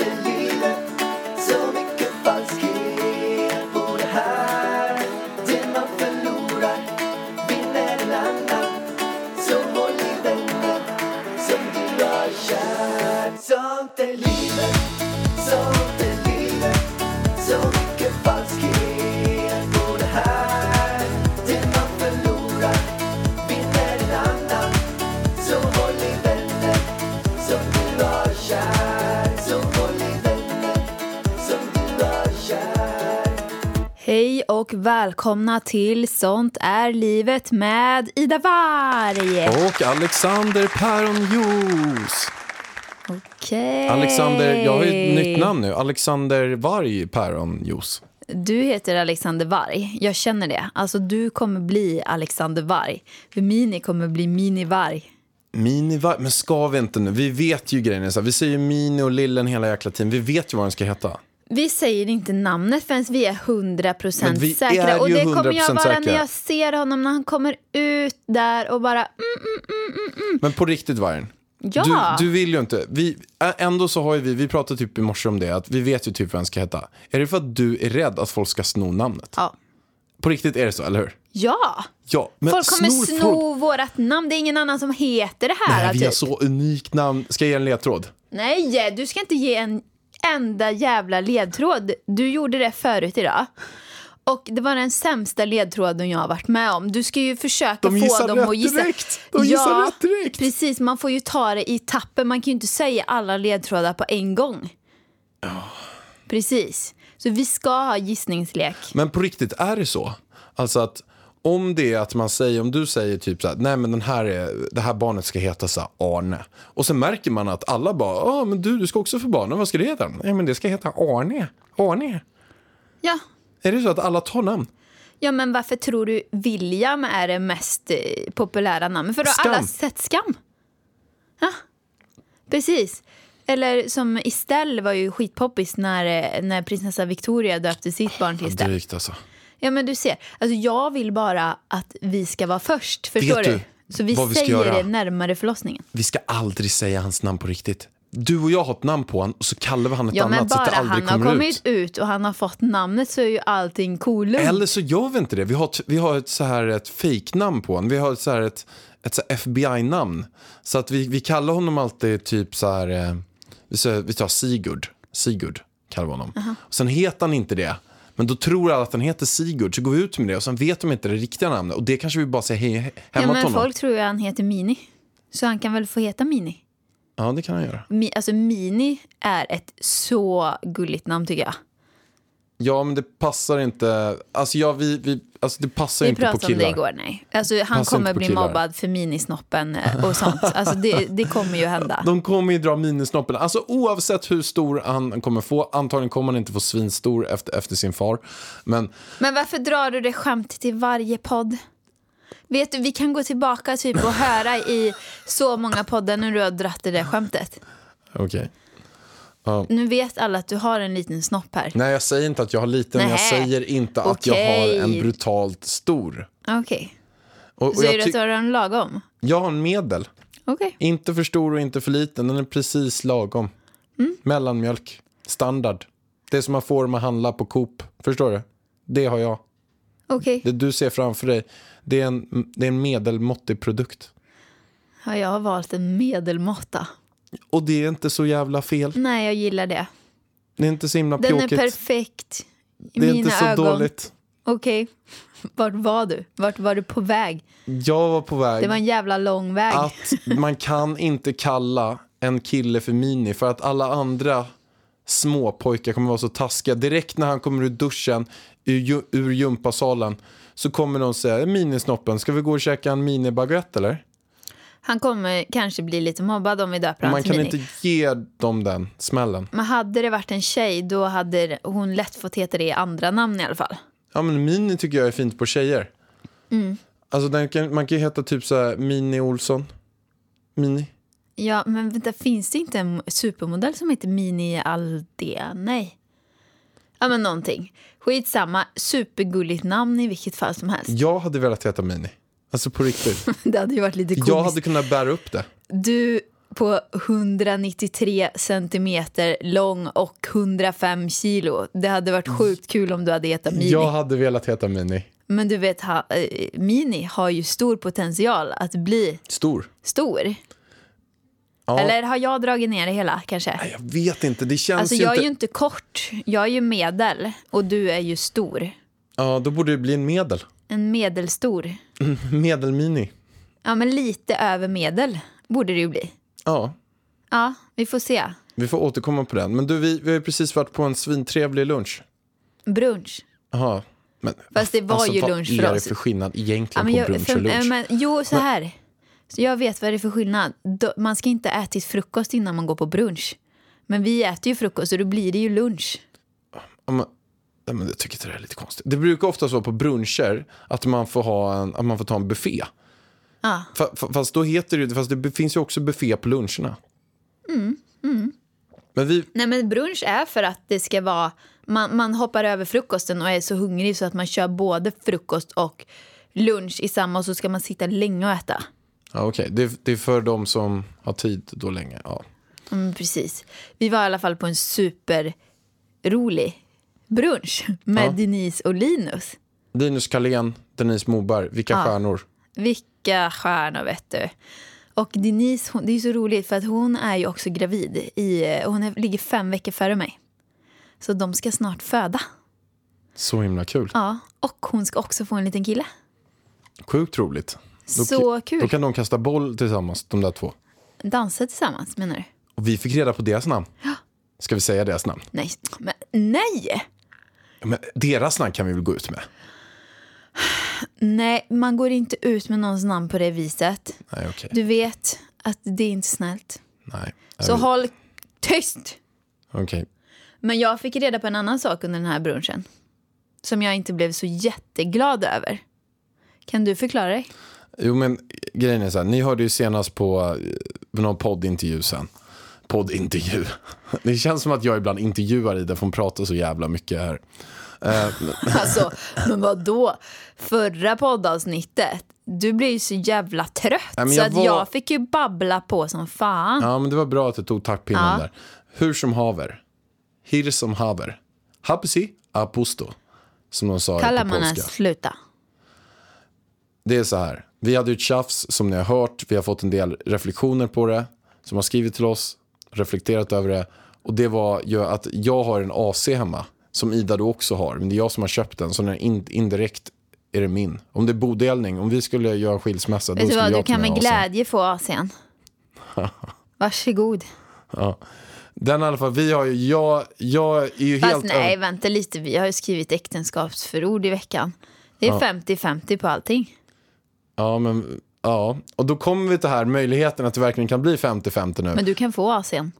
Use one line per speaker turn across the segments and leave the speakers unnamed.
är livet Så mycket falskhet på det här Det man förlorar vinner en annan Så håll i vännen som du har kär Sånt är livet, sånt är livet Så mycket falskhet på det här Det man förlorar vinner en annan Så håll i vännen som du har kär Så håll i vännen som du har kär
Hej och välkomna till Sånt är livet med Ida Warg.
Och Alexander Päronjuice.
Okej.
Alexander, jag har ju ett nytt namn nu. Alexander Varg Päronjuice.
Du heter Alexander Varg. Jag känner det. Alltså, du kommer bli Alexander Varg. För Mini kommer bli Mini Varg.
Mini-varg, men ska vi inte nu? Vi vet ju grejen är så här. Vi säger ju Mini och Lillen hela jäkla tiden. Vi vet ju vad den ska
Mm.
heta.
Vi säger inte namnet förrän vi är 100%
Men vi
säkra.
är ju
och det kommer jag
100%
vara
säkra.
när jag ser honom när han kommer ut där och bara... Mm,
Men på riktigt vargen.
Ja.
Du, du vill ju inte. Vi, ä- ändå så har ju vi, vi pratade typ i morse om det, att vi vet ju typ vad den ska heta. Är det för att du är rädd att folk ska sno namnet?
ja.
På riktigt är det så, eller hur?
ja.
Ja, men
Folk kommer
snor
sno
folk-
vårat namn. Det är ingen annan som heter det här.
Nej, vi
typ.
har så unikt namn. Ska jag ge en ledtråd?
Nej, du ska inte ge en enda jävla ledtråd. Du gjorde det förut idag. Och det var den sämsta ledtråden jag har varit med om. Du ska ju försöka
De
få
gissar
dem
rätt
att gissa.
direkt. De gissar rätt direkt.
Precis, man får ju ta det i tapper. Man kan ju inte säga alla ledtrådar på en gång. Precis. Så vi ska ha gissningslek.
Men på riktigt, är det så? Alltså att om det är att man säger, om du säger typ så här, nej men den här är, det här barnet ska heta så här Arne. Och sen märker man att alla bara, ja men du, du ska också få barn, vad ska det heta? Nej men det ska heta Arne, Arne.
Ja.
Är det så att alla tar namn?
ja, men varför tror du William är det mest eh, populära namnet? För då har alla
Skam.
sett Skam. Ja, precis. Eller som Estelle var ju skitpoppis när, eh, när prinsessa Victoria döpte sitt barn till Estelle.
Drygt alltså.
Ja, men du ser. Alltså, jag vill bara att vi ska vara först, förstår du?
du
Så vi,
vad vi ska
säger
göra?
det närmare förlossningen.
Vi ska aldrig säga hans namn på riktigt. Du och jag har ett namn på honom och så kallar vi han ett
Ja, men
annat så att
bara
det aldrig
han har
kommer
kommit
ut.
ut. och han har fått namnet så är ju allting coolum.
Eller så gör vi inte det. Vi har ett, vi har ett så här ett fejknamn på honom. Vi har ett, så här ett, ett så här FBI-namn. Så att vi, vi kallar honom alltid typ så här, eh, vi, säger- vi tar Sigurd. Sigurd kallar vi honom. Och sen heter han inte det. Men då tror alla att han heter Sigurd, så går vi ut med det och sen vet de inte det riktiga namnet. Och det kanske vi bara säger hej, hej,
Ja,
hemma till
men
honom.
folk tror ju han heter Mini. Så han kan väl få heta Mini?
Ja, det kan han göra.
Mi, alltså Mini är ett så gulligt namn tycker jag.
Ja, men det passar inte. Alltså, ja, vi, vi, alltså det passar
Vi
inte på
pratade om det
killar.
igår, nej. Alltså, han
Passar
kommer
inte på
bli
killar.
mobbad för minisnoppen eh, och sånt. Alltså, det, det kommer ju hända.
De kommer ju dra minisnoppen. Alltså oavsett hur stor han kommer få, antagligen kommer han inte få svinstor efter, efter sin far. Men
Men varför drar du det skämtet i varje podd? Vet du, vi kan gå tillbaka typ och höra i så många poddar när du har dratt det där skämtet.
okej.
Nu vet alla att du har en liten snopp här.
Nej, jag säger inte att jag har liten,
Nej.
jag säger inte att
Okej.
jag har en brutalt stor.
Okej.
Och, och
Så är
jag,
det
ty-
att du har en lagom?
jag har en medel.
Okej.
Inte för stor och inte för liten, den är precis lagom.
Mm.
Mellanmjölk, standard. Det som man får om man handlar på Coop. Förstår du? Det har jag.
Okej.
Det du ser framför dig, det är en, det är en medelmåttig produkt.
Ja, jag har valt en medelmåtta.
Och det är inte så jävla fel.
Nej, jag gillar det.
Det är inte så himla
Den
pjåkigt.
är perfekt. I
Det är
mina
inte så
ögon.
dåligt.
Okej. Vart var du? Vart var du på väg?
Jag var på väg
Det var en jävla lång väg.
att man kan inte kalla en kille för mini för att alla andra små pojkar kommer vara så taskiga. Direkt när han kommer ur duschen, ur, ju- ur gympasalen, så kommer någon säga minisnoppen, ska vi gå och käka en minibaguette eller?
Han kommer kanske bli lite mobbad om vi döper
Man
honom till
kan
Mini.
inte ge dem den smällen.
Men hade det varit en tjej då hade hon lätt fått heta det i andra namn i alla fall. Mm.
Ja men mini tycker jag är fint på tjejer. Alltså den kan, man kan ju heta typ så här Mini Olsson. Mini.
Ja, men vänta, finns det inte en supermodell som heter Mini Aldea? Nej. Ja, men någonting. Skitsamma. Supergulligt namn i vilket fall som helst.
Jag hade velat heta Mini. Alltså på riktigt.
Det hade ju varit lite komiskt.
Jag hade kunnat bära upp det.
Du på 193 centimeter lång och 105 kilo. Det hade varit sjukt kul om du hade hetat Mini.
Jag hade velat heta Mini.
Men du vet, ha, eh, Mini har ju stor potential att bli
Stor.
stor.
Ja.
Eller har jag dragit ner det hela kanske?
Nej, Jag vet inte, det känns
Alltså
ju
jag är
inte...
ju inte kort, jag är ju medel och du är ju stor.
Ja, då borde det bli en medel.
En medelstor.
Medelmini.
Ja men lite över medel borde det ju bli.
Ja,
Ja, vi får se.
vi får återkomma på den. Men du, vi, vi har ju precis varit på en svintrevlig lunch.
Brunch.
Jaha. Men,
Fast det var
alltså,
ju
vad
lunch
är
för
det
oss.
för skillnad
Ja,
egentligen
men
på
jag,
brunch
för,
och lunch?
eh, men, jo, så här. Så jag vet vad det är för skillnad. Då- Man ska inte ha ätit frukost innan man går på brunch. Men vi äter ju frukost och då blir det ju lunch.
Ja, men, ja, men jag tycker inte det här är lite konstigt. Det brukar ofta vara på bruncher att man får, ha en, att man får ta en buffé.
Ja.
Fa- fa- Fast, då heter det, fast det finns ju också buffé på luncherna.
Mm,
Men vi,
Nej men brunch är för att det ska vara, man, man hoppar över frukosten och är så hungrig så att man kör både frukost och lunch i samma och så ska man sitta länge och äta.
ja, okej. det, det är för de som har tid då länge. Ja.
Mm, precis. Vi var i alla fall på en superrolig brunch med
Ja.
Denise och Linus.
Linus Karlén, Denise Moberg, vilka stjärnor.
Vilka stjärnor vet du. Och Denise, hon, det är ju så roligt för att hon är ju också gravid. I, och hon är, ligger fem veckor före mig. Så de ska snart föda.
Så himla kul.
Ja, och hon ska också få en liten kille.
Sjukt roligt. Då,
Så kul.
Då kan de kasta boll tillsammans, de där två.
Dansa tillsammans menar du?
Och vi fick reda på deras namn. Ska vi säga deras namn?
Nej, men nej!
Ja, Men deras namn kan vi väl gå ut med?
Nej, man går inte ut med någons namn på det viset.
Nej, okej.
Du vet att det är inte snällt.
Nej.
Så
Nej,
håll tyst!
Okej.
Men jag fick reda på en annan sak under den här brunchen. Som jag inte blev så jätteglad över. Kan du förklara dig?
Jo, men grejen är så här. Ni hörde ju senast på eh, någon poddintervju sen. Poddintervju. Det känns som att jag ibland intervjuar Ida, för hon pratar så jävla mycket här.
Alltså, men vad då? Förra poddavsnittet, du blev ju så jävla trött.
men
så
jag
att
var-
jag fick ju babbla på som fan.
Ja, men det var bra att du tog taktpinnen
Ja.
där. Hur som haver. Hir som haver. Hapsi aposto. Som de sa
Kallar
på
man
polska.
ens sluta?
Det är så här. Vi hade ju ett tjafs som ni har hört. Vi har fått en del reflektioner på det. Som har skrivit till oss. Reflekterat över det. Och det var ju att jag har en AC hemma. Som Ida då också har. Men det är jag som har köpt den. Så den är in, indirekt är det min. Om det är bodelning. Om vi skulle göra en skilsmässa.
Vet
då
du
skulle
vad,
jag
du
ta
kan med
AC'n.
glädje få AC'n. Varsågod.
Den i alla fall. Vi har ju. Jag, jag är ju
Fast
helt
nej,
över-
vänta lite. Vi har ju skrivit äktenskapsförord i veckan. Det är 50-50 på allting.
Ja, men ja. Och då kommer vi till här möjligheten att det verkligen kan bli 50-50 nu.
Men du kan få AC'n.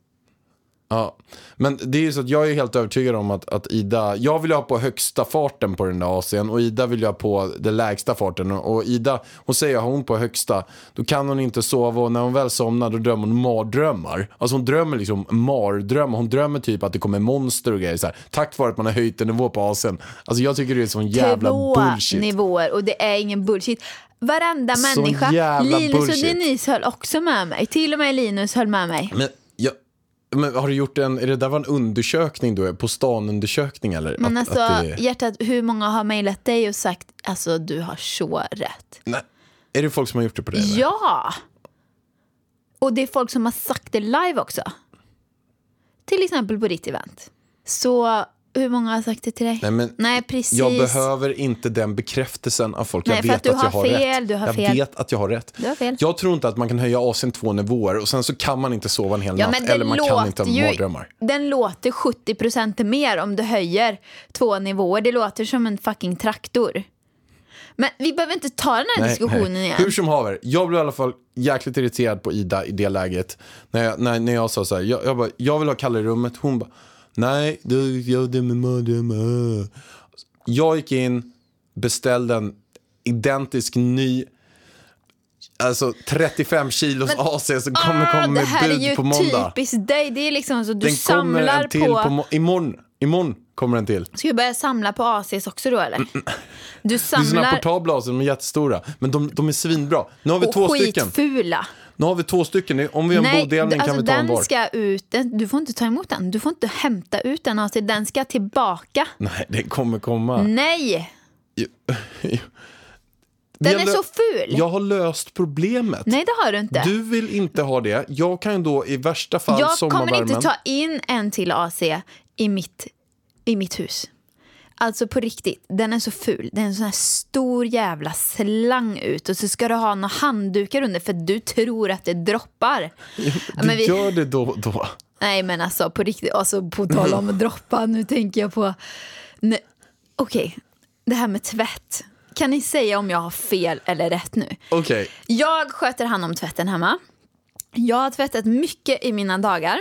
Ja. Men det är ju så att jag är helt övertygad om att, att Ida, jag vill ju ha på högsta farten på den där AC'n och Ida vill ju ha på den lägsta farten. Och och Ida, hon säger har hon på högsta, då kan hon inte sova och när hon väl somnar då drömmer hon mardrömmar. Alltså hon drömmer liksom mardrömmar, hon drömmer typ att det kommer monster och grejer så här. Tack vare att man har höjt en nivå på AC'n. Alltså jag tycker det är sån jävla
Två
bullshit.
nivåer och det är ingen bullshit. Varenda
Sån
människa.
jävla
Linus
bullshit.
och Denise höll också med mig. Till och med Linus höll med mig.
Men, jag, men har du gjort en, är det där var en undersökning då? På stan-undersökning eller?
Men
Att-
alltså,
att det,
hjärtat, hur många har mejlat dig och sagt alltså du har så rätt?
nej, är det folk som har gjort det på dig? eller?
Ja! Och det är folk som har sagt det live också. Till exempel på ditt event. Så hur många har sagt det till dig?
Nej, men
precis.
Jag behöver inte den bekräftelsen av folk.
Nej,
jag
för
vet
att du
jag
har
har
fel,
rätt.
du har
jag
fel.
vet att jag har rätt.
Du har fel.
Jag tror inte att man kan höja AC'n två nivåer och sen så kan man inte sova en hel
Ja,
natt.
men den
Eller man kan inte ha
låter ju-
mardrömmar.
Den låter 70 mer om du höjer två nivåer. Det låter som en fucking traktor. Men vi behöver inte ta den här diskussionen igen.
Hur som haver, jag blev i alla fall jäkligt irriterad på Ida i det läget. När jag, när, när jag sa så här, jag, jag, bara, jag vill ha Kalle i rummet. Hon bara, nej, du gör det med mardrömmar. Jag gick in, beställde en identisk ny, alltså 35 kilos AC som kommer
Ah,
komma
det
med
här är ju
bud på måndag.
typiskt dig. Det är liksom så du
Den kommer
samlar
en till på,
på...
må- imorgon. Imorgon kommer den till.
Ska du börja samla på ACs också då
Mm,
eller? Du
Det är såna
samlar
portabla AC, de är jättestora. Men de, de är svinbra. Nu har vi
och
två stycken.
skitfula.
Nu har vi två stycken. Om vi gör en bodelning
alltså
kan vi ta en
den
var.
ska ut. Den, du får inte ta emot den. Du får inte hämta ut den AC. Den ska tillbaka.
Nej, den kommer komma.
Nej,
Vi
den
har
är
lö-
så ful.
Jag har löst problemet.
Nej, det har du inte.
Du vill inte ha det. Jag kan ju då i värsta fall
jag kommer
sommarvärmen.
inte ta in en till AC i mitt, i mitt hus. Alltså på riktigt, den är så ful. Det är en sån här stor jävla slang ut och så ska du ha några handdukar under för du tror att det droppar. Ja,
Du
men vi-
gör det då och då.
Nej men alltså på riktigt, alltså på tal om att droppa, nu tänker jag på... Nej, Okej, det här med tvätt. Kan ni säga om jag har fel eller rätt nu?
Okej,
Jag sköter hand om tvätten hemma. Jag har tvättat mycket i mina dagar.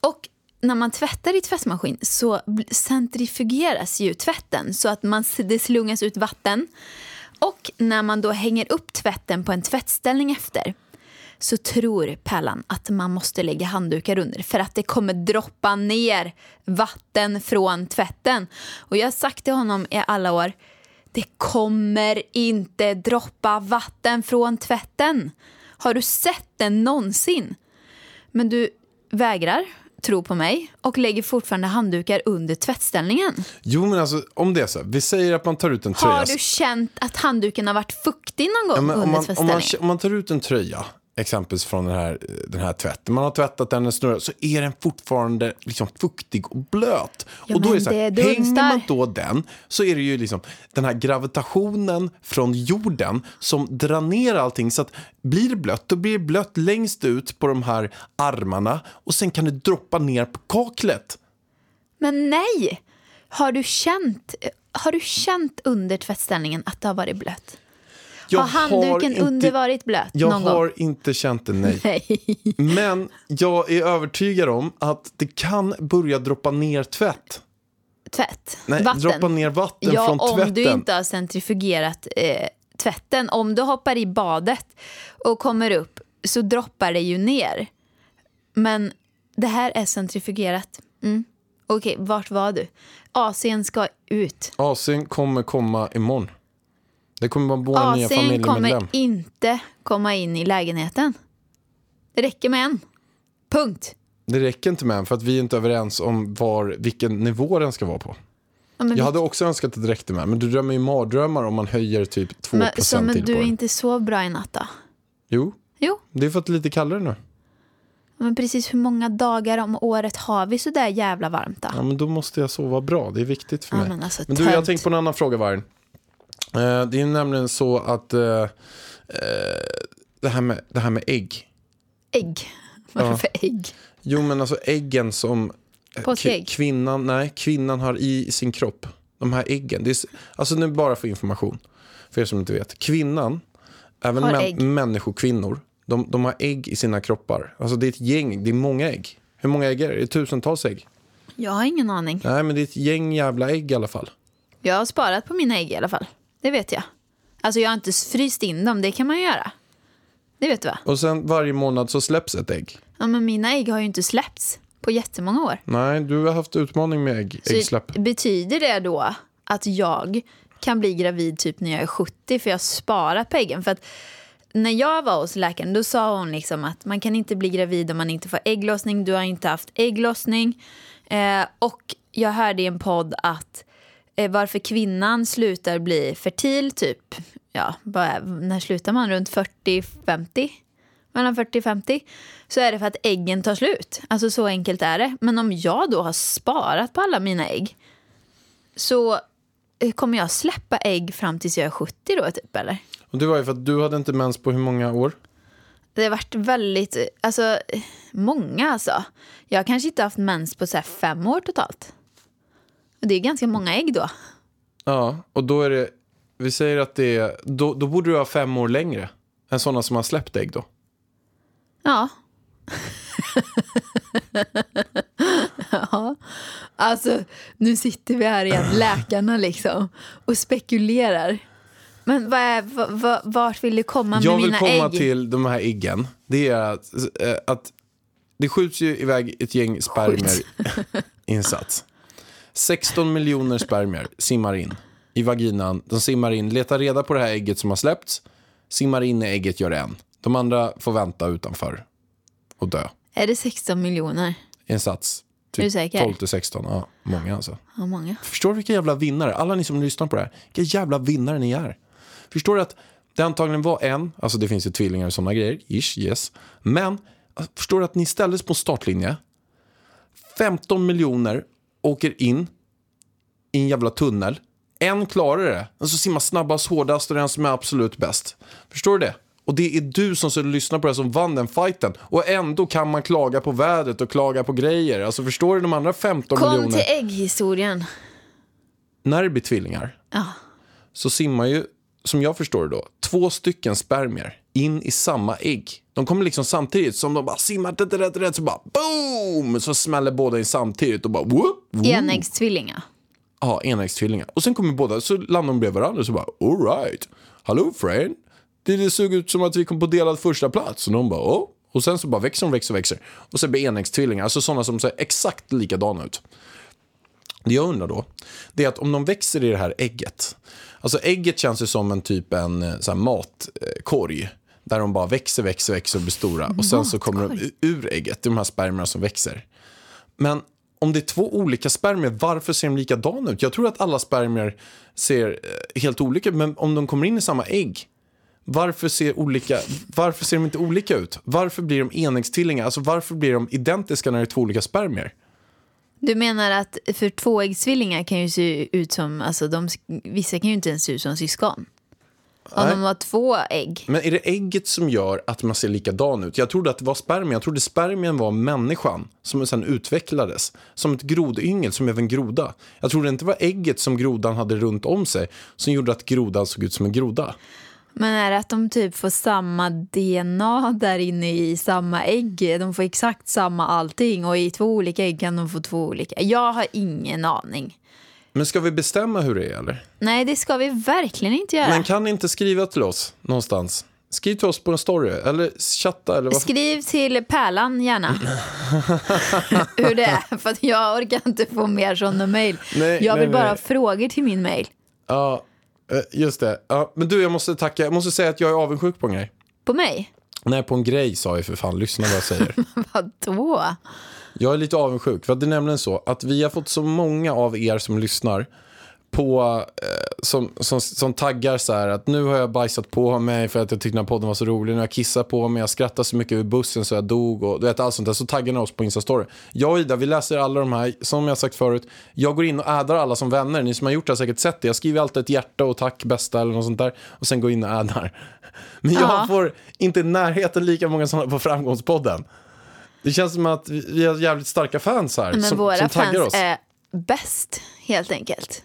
Och när man tvättar i tvättmaskin så bl- centrifugeras ju tvätten så att man, s- det slungas ut vatten. Och när man då hänger upp tvätten på en tvättställning efter så tror Pärlan att man måste lägga handdukar under för att det kommer droppa ner vatten från tvätten. Och jag har sagt till honom i alla år, det kommer inte droppa vatten från tvätten. Har du sett det någonsin? Men du vägrar tro på mig och lägger fortfarande handdukar under tvättställningen.
jo men alltså om det är så. här. Vi säger att man tar ut en tröja.
Har du känt att handduken har varit fuktig någon
Ja,
gång
men om,
under
man, om, man,
tvättställningen?
om man tar ut en tröja, exempelvis från den här, den här tvätten. Man har tvättat den, den snurrar, så är den fortfarande liksom fuktig och blöt.
Ja,
och då är
men
det så här,
det
hänger
dunstar.
man då den så är det ju liksom den här gravitationen från jorden som drar ner allting. Så att blir det blött, då blir det blött längst ut på de här armarna och sen kan det droppa ner på kaklet.
Men nej! Har du, känt, har du känt under tvättställningen att det har varit blöt?
Jag
har handduken
inte-
under varit blöt
Jag
någon
har
gång?
inte känt det, nej.
Nej.
Men jag är övertygad om att det kan börja droppa ner tvätt.
Tvätt?
Nej,
vatten?
droppa ner vatten
ja,
från
om
tvätten.
du inte har centrifugerat eh, tvätten. Om du hoppar i badet och kommer upp så droppar det ju ner. Men det här är centrifugerat. Mm. Okej, vart var du? AC'n ska ut.
AC'n kommer komma imorgon. Det kommer vara vår nya
AC'n
familjemedlem.
kommer inte komma in i lägenheten. Det räcker med en. Punkt.
Det räcker inte med en, för att vi är inte överens om var, vilken nivå den ska vara på.
Ja, men
Jag hade också önskat att det räckte med, men du drömmer ju mardrömmar om man höjer typ 2%
men, så, men
till
du
på
är
den.
inte så bra i natt då?
Jo,
Jo,
det är för att det är lite kallare nu.
men precis hur många dagar om året har vi så där jävla varmt då?
Ja, men då måste jag sova bra. Det är viktigt för
Ja,
mig.
men alltså,
du, jag har
tönt.
tänkt på en annan fråga, Vargen. Eh, det är nämligen så att eh, eh, det, här med, det här med ägg.
Ägg. Vad är det
Ja.
för ägg?
Jo, men alltså äggen som eh,
Påskägg?
ki- kvinnan, nej, kvinnan har i sin kropp. De här äggen. Det är, s- alltså nu bara för information, för er som inte vet. Kvinnan, även
Har
män-
ägg.
människokvinnor, de, de har ägg i sina kroppar. Alltså det är ett gäng, det är många ägg. Hur många ägg är det? Det är tusentals ägg.
Jag har ingen aning.
Nej, men det är ett gäng jävla ägg i alla fall.
Jag har sparat på mina ägg i alla fall. Det vet jag. Alltså jag har inte fryst in dem, det kan man ju göra. Det vet du va?
Och sen varje månad så släpps ett ägg.
Ja, men mina ägg har ju inte släppts på jättemånga år.
Nej, du har haft utmaning med ägg,
Så
äggsläpp.
Betyder det då att jag kan bli gravid typ när jag är 70 för jag har sparat på äggen? För att när jag var hos läkaren då sa hon liksom att man kan inte bli gravid om man inte får ägglossning. Du har inte haft ägglossning. Eh, och jag hörde i en podd att eh, varför kvinnan slutar bli fertil typ, ja, vad är, när slutar man? Runt 40-50? mellan 40 och 50 så är det för att äggen tar slut. Alltså så enkelt är det. Men om jag då har sparat på alla mina ägg så eh, kommer jag släppa ägg fram tills jag är 70 då typ eller?
Och det var ju för att du hade inte mens på hur många år?
Det har varit väldigt, eh, alltså eh, många alltså. Jag har kanske inte haft mens på så här fem år totalt. Och Det är ganska många ägg då.
Ja, och då är det... Vi säger att det är... Då, då borde du ha fem år längre än sådana som har släppt ägg då.
Ja. ja. Alltså, nu sitter vi här igen, läkarna liksom, och spekulerar. Men vad är, vad- vad- vart vill du komma
Jag
med
vill
mina
komma
ägg?
till de här äggen. Det är att, eh, att det skjuts ju iväg ett gäng spermier i en sats. 16 miljoner spermier simmar in i vaginan. De simmar in, letar reda på det här ägget som har släppts, simmar in i ägget, gör en. De andra får vänta utanför och dö
Är det 16 miljoner?
i en sats.
Är du säker?
12 till 16, ja. Många alltså.
Hur många?
Förstår du vilka jävla vinnare, alla ni som lyssnar på det här, vilka jävla vinnare ni är. Förstår du att det antagligen var en, alltså det finns ju tvillingar och sådana grejer, ish, yes. Men alltså, förstår du att ni ställdes på en startlinje, 15 miljoner åker in i en jävla tunnel, en klarar det, den som simmar snabbast, hårdast och den som är absolut bäst. Förstår du det? Och det är du som så lyssnar på det här som vann den fighten. Och ändå kan man klaga på vädret och klaga på grejer. Alltså förstår du de andra 15
Kom
miljoner?
till ägghistorien.
när det blir tvillingar
Ja.
så simmar ju, som jag förstår det då, två stycken spermier in i samma ägg. De kommer liksom samtidigt som de bara simmar, rätt, rätt, rätt, så bara boom! Så smäller båda in samtidigt och bara whoop, whoop.
Enäggstvillingar.
Ja, enäggstvillingar. Och sen kommer båda, så landar de bredvid varandra och så bara all right, hello friend. Det, det såg ut som att vi kom på delad första plats. Och de bara åh. Och sen så bara växer de, växer, växer. Och sen blir enäggstvillingar, alltså sådana som ser exakt likadana ut. Det jag undrar då, det är att om de växer i det här ägget. Alltså ägget känns ju som en typ en eh, så här matkorg. eh, Där de bara växer, växer, växer och blir stora. Och sen så kommer de u- ur ägget, det är de här spermierna som växer. Men om det är två olika spermier, varför ser de likadana ut? Jag tror att alla spermier ser eh, helt olika ut, men om de kommer in i samma ägg, varför ser, olika, varför ser de inte olika ut? Varför blir de enäggstvillingar? Alltså varför blir de identiska när det är två olika spermier?
Du menar att för tvåäggstvillingar kan ju se ut som, alltså de, vissa kan ju inte ens se ut som syskon. Om
Nej.
de har två ägg.
Men är det ägget som gör att man ser likadan ut? Jag trodde att det var spermien. Jag trodde spermien var människan som sen utvecklades. Som ett grodyngel, som även groda. Jag trodde inte det var ägget som grodan hade runt om sig som gjorde att grodan såg ut som en groda.
Men är det att de typ får samma DNA där inne i samma ägg? De får exakt samma allting och i två olika ägg kan de få två olika. Jag har ingen aning.
Men ska vi bestämma hur det är eller?
Nej, det ska vi verkligen inte göra.
Men kan ni inte skriva till oss någonstans? Skriv till oss på en story eller chatta eller vad
Skriv till Pärlan gärna hur det är, för att jag orkar inte få mer sådana mejl.
Nej,
Jag vill
nej,
bara
nej.
ha frågor till min mejl.
Ja, eh, just det. Ja, men du, jag måste tacka. Jag måste säga att jag är avundsjuk på en grej.
På mig?
Nej, på en grej sa jag för fan. Lyssna vad jag säger.
Vadå?
Jag är lite avundsjuk. För att det är nämligen så att vi har fått så många av er som lyssnar på, eh, som, som, som taggar så här att nu har jag bajsat på mig för att jag tyckte den här podden var så rolig. Nu har jag kissat på mig, jag skrattade så mycket vid bussen så jag dog och du vet allt sånt där. Så taggar ni oss på Instastory. Jag och Ida, vi läser alla de här, som jag sagt förut. Jag går in och addar alla som vänner. Ni som har gjort det har säkert sett det. Jag skriver alltid ett hjärta och tack bästa eller något sånt där. Och sen går in och addar. Men jag
Ja.
får inte i närheten lika många sådana på Framgångspodden. Det känns som att vi vi har jävligt starka fans här
Men
som,
våra
som taggar
fans
oss.
är bäst, helt enkelt.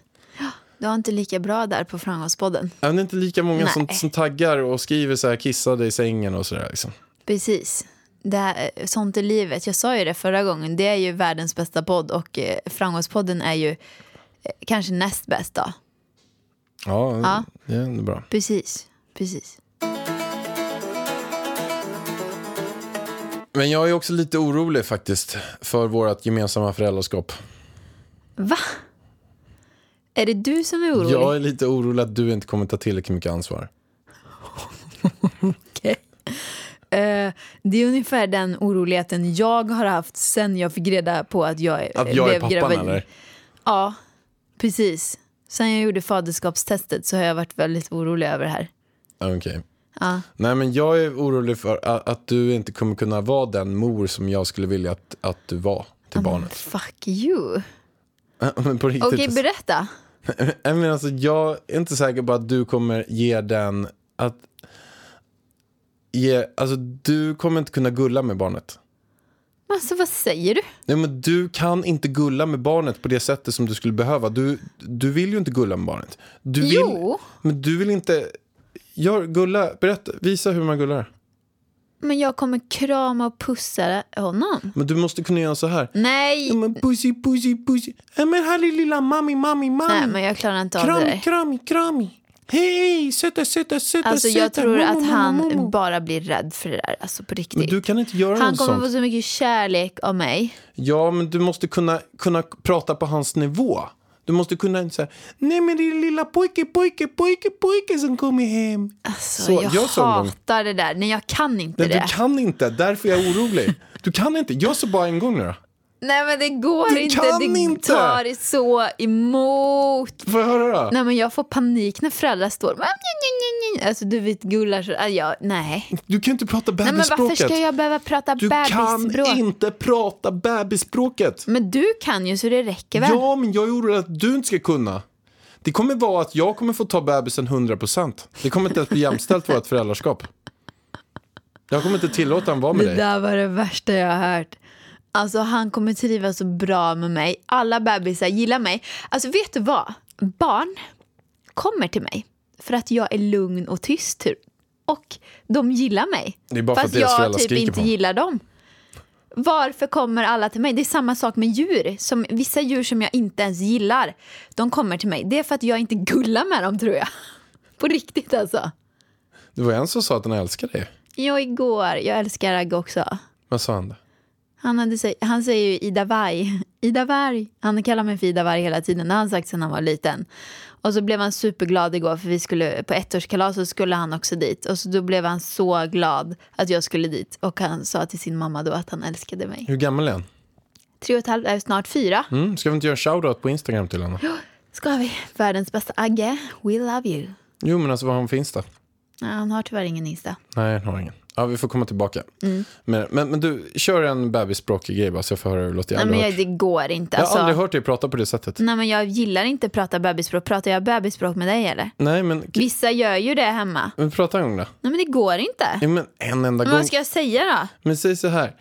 Du har inte lika bra där på Framgångspodden.
Även inte lika många som,
Nej.
som taggar och skriver så här kissade i sängen och sådär. Liksom.
Precis. Det här, eh, sånt är livet. Jag sa ju det förra gången. Det är ju världens bästa podd och eh, Framgångspodden är ju eh, kanske näst bäst då.
Ja,
Ja.
det är ändå bra.
Precis. Precis.
Men jag är också lite orolig faktiskt för vårt gemensamma föräldraskap.
Va? Är det du som är orolig?
Jag är lite orolig att du inte kommer ta tillräckligt mycket ansvar.
Eh, det är ungefär den oroligheten jag har haft sen jag fick reda på att jag, eh,
Att jag
blev
är pappan
gravid.
eller?
Ja, precis. Sen jag gjorde faderskapstestet så har jag varit väldigt orolig över det här.
Ja, Okej. Nej, men jag är orolig för att, att du inte kommer kunna vara den mor som jag skulle vilja att, att du var till barnet.
Fuck you.
Men på riktigt.
Okej, berätta.
Nej, men alltså, jag är inte säker på att du kommer ge den att... Ge, alltså, du kommer inte kunna gulla med barnet.
Men Alltså vad säger du?
Nej, men du kan inte gulla med barnet på det sättet som du skulle behöva. Du, du vill ju inte gulla med barnet. Du vill,
Jo.
Men du vill inte... Gör, gulla, berätta, visa hur man gullar.
Men jag kommer krama och pussa honom.
Men du måste kunna göra så här. Ja,
Nej!
men pussy, pussy, pussy. Ja, men här är lilla mami, mami, mami.
Nej, men jag klarar inte av det
krami,
där.
krami, krami. Hej, söta, söta, söta,
Alltså
söta.
jag tror
Mo,
att
mo, mo, mo, mo.
han bara blir rädd för det där, alltså på
Men
riktigt.
du kan inte göra
han
något
kommer
sånt.
få så mycket kärlek av mig.
Ja, men du måste kunna, kunna prata på hans nivå. Du måste kunna säga, nej men det är lilla pojke, pojke, pojke, pojke som kommer hem.
Alltså,
Så,
jag
gör så en gång.
hatar det där. Nej, jag kan inte
Nej,
det.
du kan inte, därför är jag orolig. Du kan inte, gör så bara en gång nu då.
Nej, men det går
Du
inte.
kan
det
inte.
tar så emot.
Får jag höra då?
Nej, men jag får panik när föräldrar står... Alltså, du vet, gullar så... Ah, ja, nej.
Du kan inte prata
nej, men varför
bebisspråket.
ska jag behöva prata
Du
bebisspråk?
kan inte prata bebisspråket.
Men du kan ju, så det räcker väl?
Ja, men jag är orolig att du inte ska kunna. Det kommer vara att jag kommer få ta bebisen 100%. Det kommer inte att bli jämställt vårt föräldraskap. Jag kommer inte tillåta han vara med
Det
dig.
där var det värsta jag har hört. Alltså han kommer trivas så bra med mig. Alla bebisar gillar mig. Alltså vet du vad? Barn kommer till mig för att jag är lugn och tyst. typ. Och de gillar mig.
Det är bara för
Fast
att deras
jag
föräldrar
typ
skriker
inte
på dem.
gillar dem. Varför kommer alla till mig? Det är samma sak med djur. Som, vissa djur som jag inte ens gillar, de kommer till mig. Det är för att jag inte gullar med dem tror jag. På riktigt alltså.
Det var en som sa att han älskar dig.
Jag igår, jag älskar Agge också.
Vad sa han? då?
Han, hade, sä- han säger ju Ida Varg. Ida Varg. Han kallar mig för Ida Varg hela tiden. Det har han sagt sedan han var liten. Och så blev han superglad igår för vi skulle på ettårskalas så skulle han också dit. Och så då blev han så glad att jag skulle dit. Och han sa till sin mamma då att han älskade mig.
Hur gammal är han?
Tre och ett halvt, äh, snart fyra.
Mm, ska vi inte göra en shoutout på Instagram till honom?
Ska vi? Världens bästa Agge. We love you.
Jo, men alltså vad har han för Insta?
Ja, han har tyvärr ingen Insta.
Nej, han har ingen. Ja, vi får komma tillbaka.
Mm.
Men, men, men du, kör en bebisspråkig grej bara så jag får höra hur det låter. Jag,
Nej
aldrig
men
hört.
jag, det går inte.
jag har aldrig
Alltså,
hört dig prata på det sättet.
nej men jag gillar inte att prata bebisspråk. Pratar jag bebisspråk med dig eller?
Nej, men,
Vissa gör ju det hemma.
men prata en gång då.
Nej men det går inte.
Ja, men en enda
Men
gång.
vad ska jag säga då?
Men säg så här.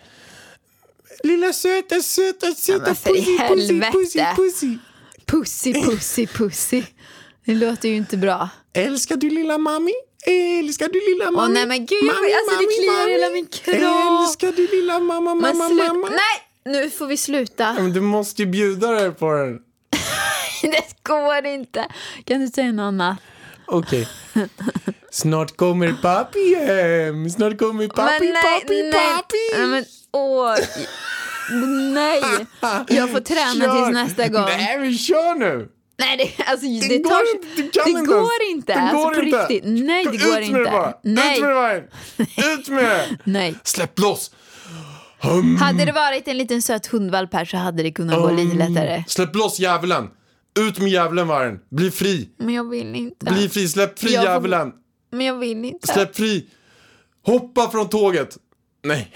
Lilla söta, söta, söta,
men för i helvete.
pussy.
Pussy, pussy, pussy. Det låter ju inte bra.
Älskar du lilla mami? Älskar du lilla mami?
nej, men gud, jag- alltså, det kliar hela min kropp.
Älskar du lilla mamma,
Men
mamma,
slut-
mamma?
Nej, nu får vi sluta.
Men du måste ju bjuda dig på den.
Det går inte. Kan du säga något annat?
Okej. Snart kommer pappi hem. Snart kommer pappi,
Men nej,
pappi,
nej. Nej,
pappi.
Men, åh. Nej, jag får träna
Kör.
tills nästa gång.
Nej, men kör nu.
Nej, det, alltså, det,
Det
tar...
går inte. Du kan
det
inte
går
ens.
inte.
Det
alltså,
går
på
inte.
riktigt. Nej, det går
Ut
inte.
med det bara.
Nej.
Ut med det bara. Ut med det.
Nej.
Släpp loss.
Hade det varit en liten söt hundvalp här så hade det kunnat gå
Mm.
lite lättare.
Släpp loss djävulen. Ut med djävulen vargen. Bli fri.
Men jag vill inte.
Bli fri. Släpp fri
Jag får-
djävulen.
Men jag vill inte.
Släpp fri. Hoppa från tåget. Nej.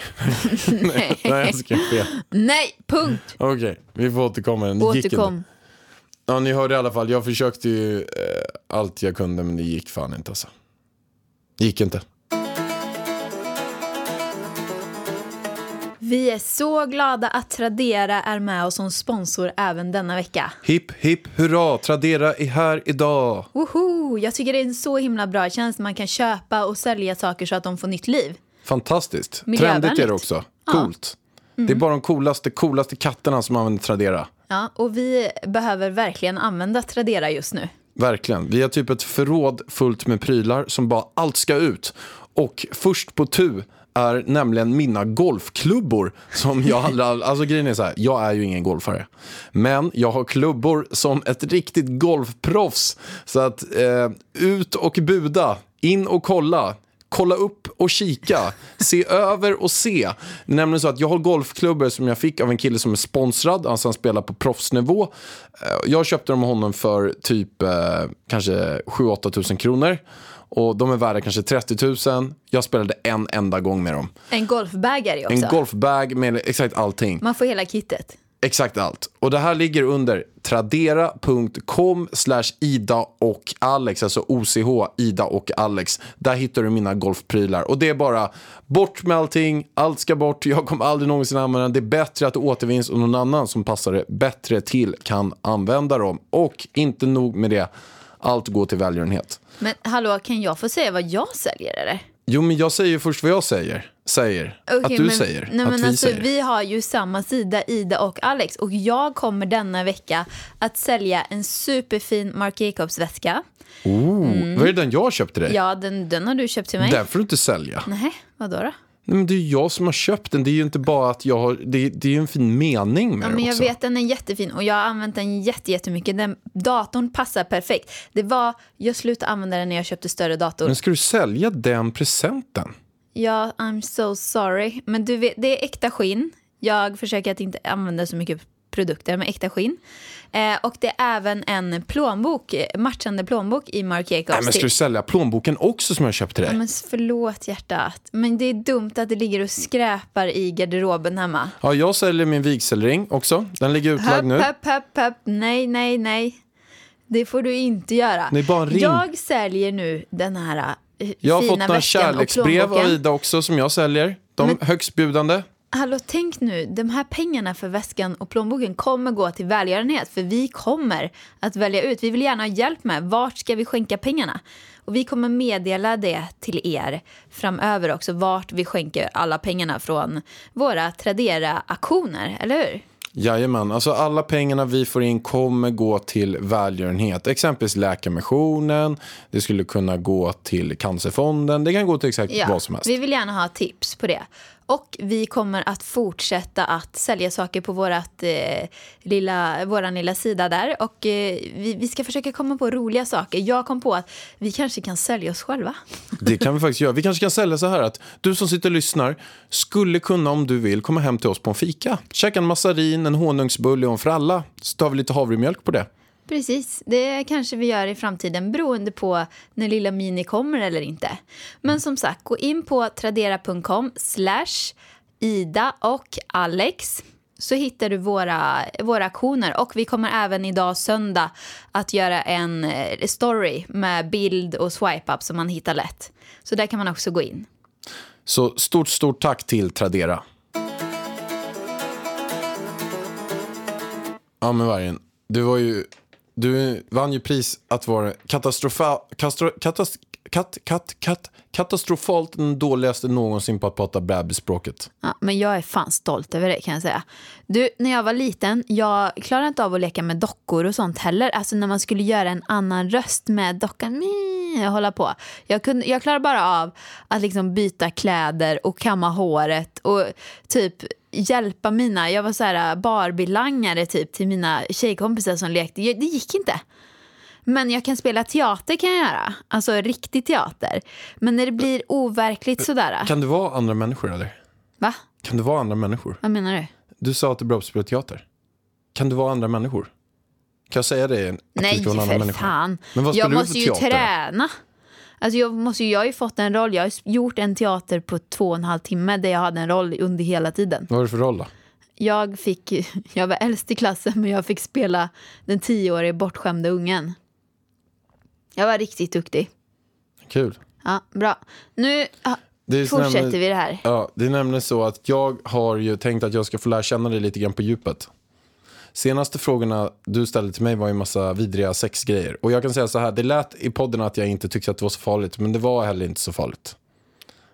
Nej, jag skrev fel.
Nej, punkt.
Okej, vi får återkomma. Det gick inte.
Återkom.
Ja, ni hörde i alla fall. Jag försökte ju eh, allt jag kunde, men det gick fan inte alltså. Det gick inte.
Vi är så glada att Tradera är med oss som sponsor även denna vecka.
Hipp, hipp, hurra, Tradera är här idag.
Woho! Jag tycker det är en så himla bra tjänst. Man kan köpa och sälja saker så att de får nytt liv.
Fantastiskt.
Miljövänligt.
Trendigt är det också. Coolt. Det är bara de coolaste, coolaste katterna som använder Tradera.
Ja, och vi behöver verkligen använda Tradera just nu.
Verkligen. Vi har typ ett förråd fullt med prylar som bara allt ska ut. Och först på tu är nämligen mina golfklubbor som jag aldrig, alltså grejen är så här, jag är ju ingen golfare. Men jag har klubbor som ett riktigt golfproffs. Så att eh, ut och buda, in och kolla. Kolla upp och kika. Se över och se. Det är nämligen så att jag har golfklubbor som jag fick av en kille som är sponsrad. Alltså han spelar på proffsnivå. Eh, Jag köpte dem av honom för typ eh, kanske 7-8 tusen kronor. Och de är värda kanske 30 000. Jag spelade en enda gång med dem.
En golfbag är det ju
En
också.
golfbag med exakt allting.
Man får hela kittet.
Exakt allt. Och det här ligger under tradera.com slash Ida och Alex, alltså OCH, Ida och Alex. Där hittar du mina golfprylar. Och det är bara bort med allting, allt ska bort, jag kommer aldrig någonsin använda det. Det är bättre att det återvinns och någon annan som passar det bättre till kan använda dem. Och inte nog med det, allt går till välgörenhet.
Men hallå, kan jag få säga vad jag säljer eller?
Jo, men jag säger ju först vad jag säger. säger.
Okej,
att du
men-
säger.
Nej,
att
men
vi
alltså,
säger.
Vi har ju samma sida, Ida och Alex. Och jag kommer denna vecka att sälja en superfin Marc Jacobs-väska.
Oh, Vad är det den jag köpte dig?
Mm. Ja, den, den har du köpt till mig.
Den får du inte sälja.
Nej, vadå då?
Nej, men det är ju jag som har köpt den. Det är ju inte bara att jag har... Det, det är ju en fin mening med
Ja,
det
men jag
också.
vet, den är jättefin och jag har använt den jätte- jättemycket. Den, datorn passar perfekt. Det var, jag slutade använda den när jag köpte större dator.
Men ska du sälja den presenten?
Ja, I'm so sorry. Men du vet, det är äkta skinn. Jag försöker att inte använda så mycket produkter med äkta skinn. Eh, och det är även en plånbok, eh, matchande plånbok i Marc Jacobs.
Nej, men ska
till-
du sälja plånboken också som jag köpte
ja,
dig?
men förlåt hjärtat, men det är dumt att det ligger och skräpar i garderoben hemma.
Ja, jag säljer min vigselring också. Den ligger utlagd nu.
Höpp, höpp, höpp, höpp. Nej, nej, nej. Det får du inte göra.
Det är bara en ring.
Jag säljer nu den här eh,
Jag har
fina
fått några
väskan och
kärleksbrev av
plånboken.
Ida också som jag säljer. De
Men-
högstbjudande.
Hallå, tänk nu. De här pengarna för väskan och plånboken kommer gå till välgörenhet. För vi kommer att välja ut. Vi vill gärna ha hjälp med vart ska vi skänka pengarna. Och vi kommer meddela det till er framöver också. Vart vi skänker alla pengarna från våra Tradera-aktioner, eller hur?
Jajamän, alltså alla pengarna vi får in kommer gå till välgörenhet. Exempelvis Läkarmissionen, det skulle kunna gå till Cancerfonden, det kan gå till exakt vad som helst.
Vi vill gärna ha tips på det. Och vi kommer att fortsätta att sälja saker på vårat, eh, lilla, våran lilla sida där. Och eh, vi, vi ska försöka komma på roliga saker. Jag kom på att vi kanske kan sälja oss själva.
Det kan vi faktiskt göra. Vi kanske kan sälja så här att du som sitter och lyssnar skulle kunna om du vill komma hem till oss på en fika. Käka en massarin, en honungsbulle och en fralla. Så tar vi lite havremjölk på det.
Precis, det kanske vi gör i framtiden beroende på när lilla Mini kommer eller inte. Men som sagt, gå in på tradera.com slash Ida och Alex så hittar du våra, våra aktioner. Och vi kommer även idag söndag att göra en eh, story med bild och swipe-up som man hittar lätt. Så där kan man också gå in.
Så stort, stort tack till Tradera. Ja men Vargen, du var ju... Du vann ju pris att vara katastrofa, kastro, katas, kat, kat, kat, katastrofalt den dåligaste någonsin på att prata bebisspråket.
Ja, men jag är fan stolt över det kan jag säga. Du, när jag var liten, jag klarade inte av att leka med dockor och sånt heller. Alltså när man skulle göra en annan röst med dockan, mii, och hålla på. Jag, kunde, jag klarade bara av att liksom byta kläder och kamma håret och typ hjälpa mina, jag var så här äh, Barbie-langare typ till mina tjejkompisar som lekte. Jag- Det gick inte. Men jag kan spela teater kan jag göra, alltså riktig teater. Men när det blir overkligt sådär, äh,
Kan det vara andra människor eller?
va?
Kan det vara andra människor?
Vad menar du?
Du sa att du är bra på att spela teater. Kan det vara andra människor? Kan jag säga det? att det
Nej,
ska vara en
för
annan människa?
fan.
Men vad spelar
jag
du
måste
för
ju
teater?
träna. Alltså jag, måste, ju- jag har ju fått en roll. Jag har gjort en teater på två och en halv timme där jag hade en roll under hela tiden.
Vad är det för roll då?
Jag, fick, jag var äldst i klassen men jag fick spela den tioårige bortskämda ungen. Jag var riktigt duktig.
Kul.
Ja, bra. Nu ja,
Det är så
fortsätter
nämligen-
vi det här.
Ja, det är nämligen så att jag har ju tänkt att jag ska få lära känna dig lite grann på djupet. Senaste frågorna du ställde till mig var ju en massa vidriga sexgrejer. Och jag kan säga så här, det lät i podden att jag inte tyckte att det var så farligt, men det var heller inte så farligt.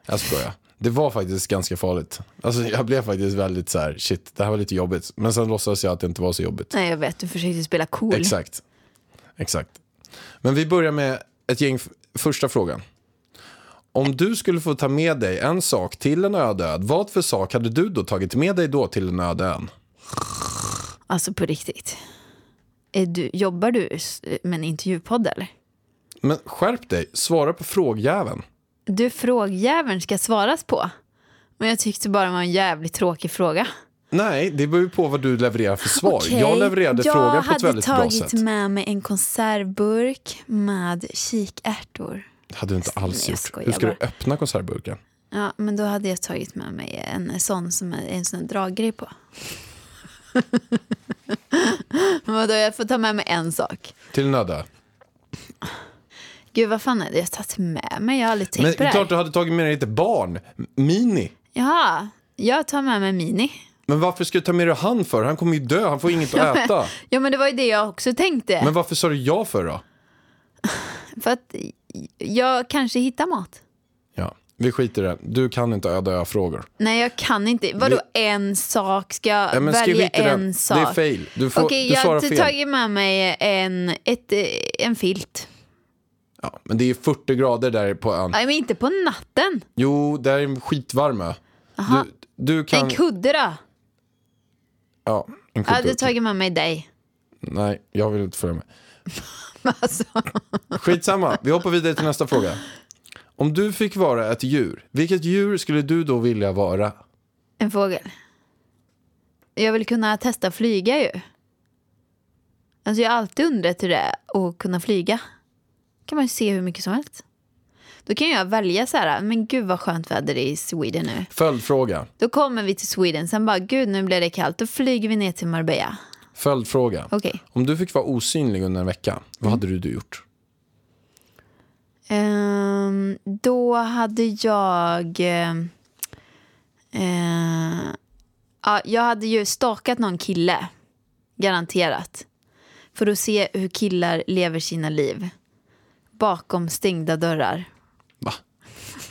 Jag skojar. Det var faktiskt ganska farligt. Alltså jag blev faktiskt väldigt så här, shit, det här var lite jobbigt. Men sen låtsades jag att det inte var så jobbigt.
Nej, jag vet. Du försökte spela cool.
Exakt. Exakt. Men vi börjar med ett gäng f- första frågan. Om du skulle få ta med dig en sak till en öde ö, vad för sak hade du då tagit med dig då till en öde ö?
Alltså på riktigt. Är du, jobbar du s- med en intervjupodd eller?
Men skärp dig, svara på frågjäveln.
Du, frågjäveln ska svaras på. Men jag tyckte bara det var en jävligt tråkig fråga.
Nej, det beror ju på vad du levererar för svar.
Okej,
Jag levererade
jag
frågan på ett
hade
väldigt bra
tagit
sätt.
med mig en konservburk med kikärtor.
Det hade du inte alls
Nej, jag
gjort.
skojar
Hur ska du
bara.
öppna konservburken?
Ja, men då hade jag tagit med mig en sån som är en sån här draggrej på. Vadå, jag får ta med mig en sak.
Till en öde ö?
Gud, vad fan är det jag tagit med mig? Jag har aldrig tänkt
Men
på det
klart du
här.
hade tagit med dig ett barn. Mini.
Jaha, jag tar med mig Mini.
Men varför ska du ta med dig han för? Han kommer ju dö, han får inget att äta.
Ja, men det var ju det jag också tänkte.
Men varför sa du ja för då?
För att jag kanske hittar mat.
Ja. Vi skiter i det. Du kan inte öda ö-frågor.
Nej, jag kan inte. Vadå en sak? Ska jag
Ja, men skriv
välja
hit i den.
en
Det är
sak?
fail. Du får-
Okej,
du
jag
svarar
har inte
fel.
tagit med mig en, ett, eh, en filt.
Ja, men det är 40 grader där på ön.
Nej, men inte på natten.
Jo, där är en skitvarm ö.
Aha.
Du, du kan...
En kudde då?
Ja, en
Jag hade
kudde.
tagit med mig dig.
Nej, jag vill inte följa med.
Alltså,
Skitsamma, vi hoppar vidare till nästa fråga. Om du fick vara ett djur, vilket djur skulle du då vilja vara?
en fågel. Jag vill kunna testa flyga ju. Alltså jag har alltid undrat hur det är att kunna flyga. kan man ju se hur mycket som helst. Då kan jag välja så här, men gud vad skönt väder det är i Sweden nu.
Följdfråga.
Då kommer vi till Sweden, sen bara gud nu blir det kallt, då flyger vi ner till Marbella.
Följdfråga.
Okej.
Om du fick vara osynlig under en vecka, vad hade du då gjort?
Ehm, då hade jag... ehm, eh, ja, jag hade ju stakat någon kille, garanterat. För att se hur killar lever sina liv. Bakom stängda dörrar.
Va?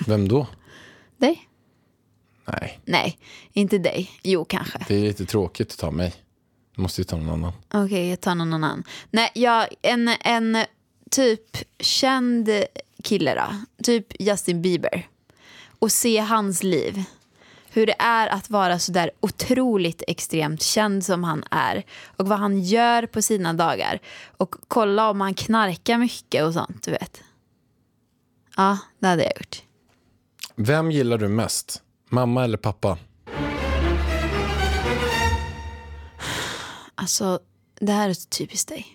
Vem då?
Dig?
Nej,
Nej, inte dig. Jo, kanske.
det är lite tråkigt att ta mig. Du måste ju ta någon annan.
Okej, jag tar någon annan. Nej, jag, en, en typ känd kille då. Typ Justin Bieber. Och se hans liv. Hur det är att vara så där otroligt extremt känd som han är. Och vad han gör på sina dagar. Och kolla om han knarkar mycket och sånt, du vet. Ja, det hade jag gjort.
Vem gillar du mest? Mamma eller pappa?
Alltså, det här är så typiskt dig.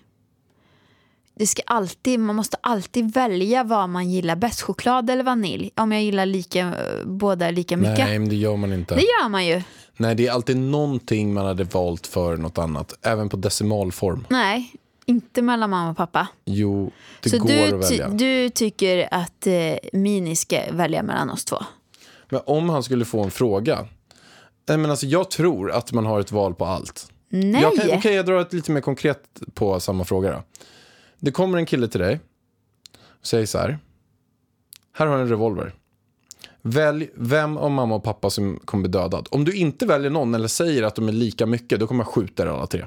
Det ska alltid, man måste alltid välja vad man gillar bäst, choklad eller vanilj. Om jag gillar lika, eh, båda lika mycket.
Nej, men det gör man inte.
Det gör man ju.
Nej, det är alltid någonting man hade valt för något annat. Även på decimalform.
Nej, inte mellan mamma och pappa.
Jo, det
så
går
du,
att
ty-
välja.
du tycker att eh, Mini ska välja mellan oss två?
Men om han skulle få en fråga. Nej, men alltså, jag tror att man har ett val på allt.
Nej!
Jag kan, okej, jag drar ett lite mer konkret på samma fråga. Då. Det kommer en kille till dig och säger så här. Här har du en revolver. Välj vem av mamma och pappa som kommer bli dödad. Om du inte väljer någon eller säger att de är lika mycket, då kommer jag skjuta er alla tre.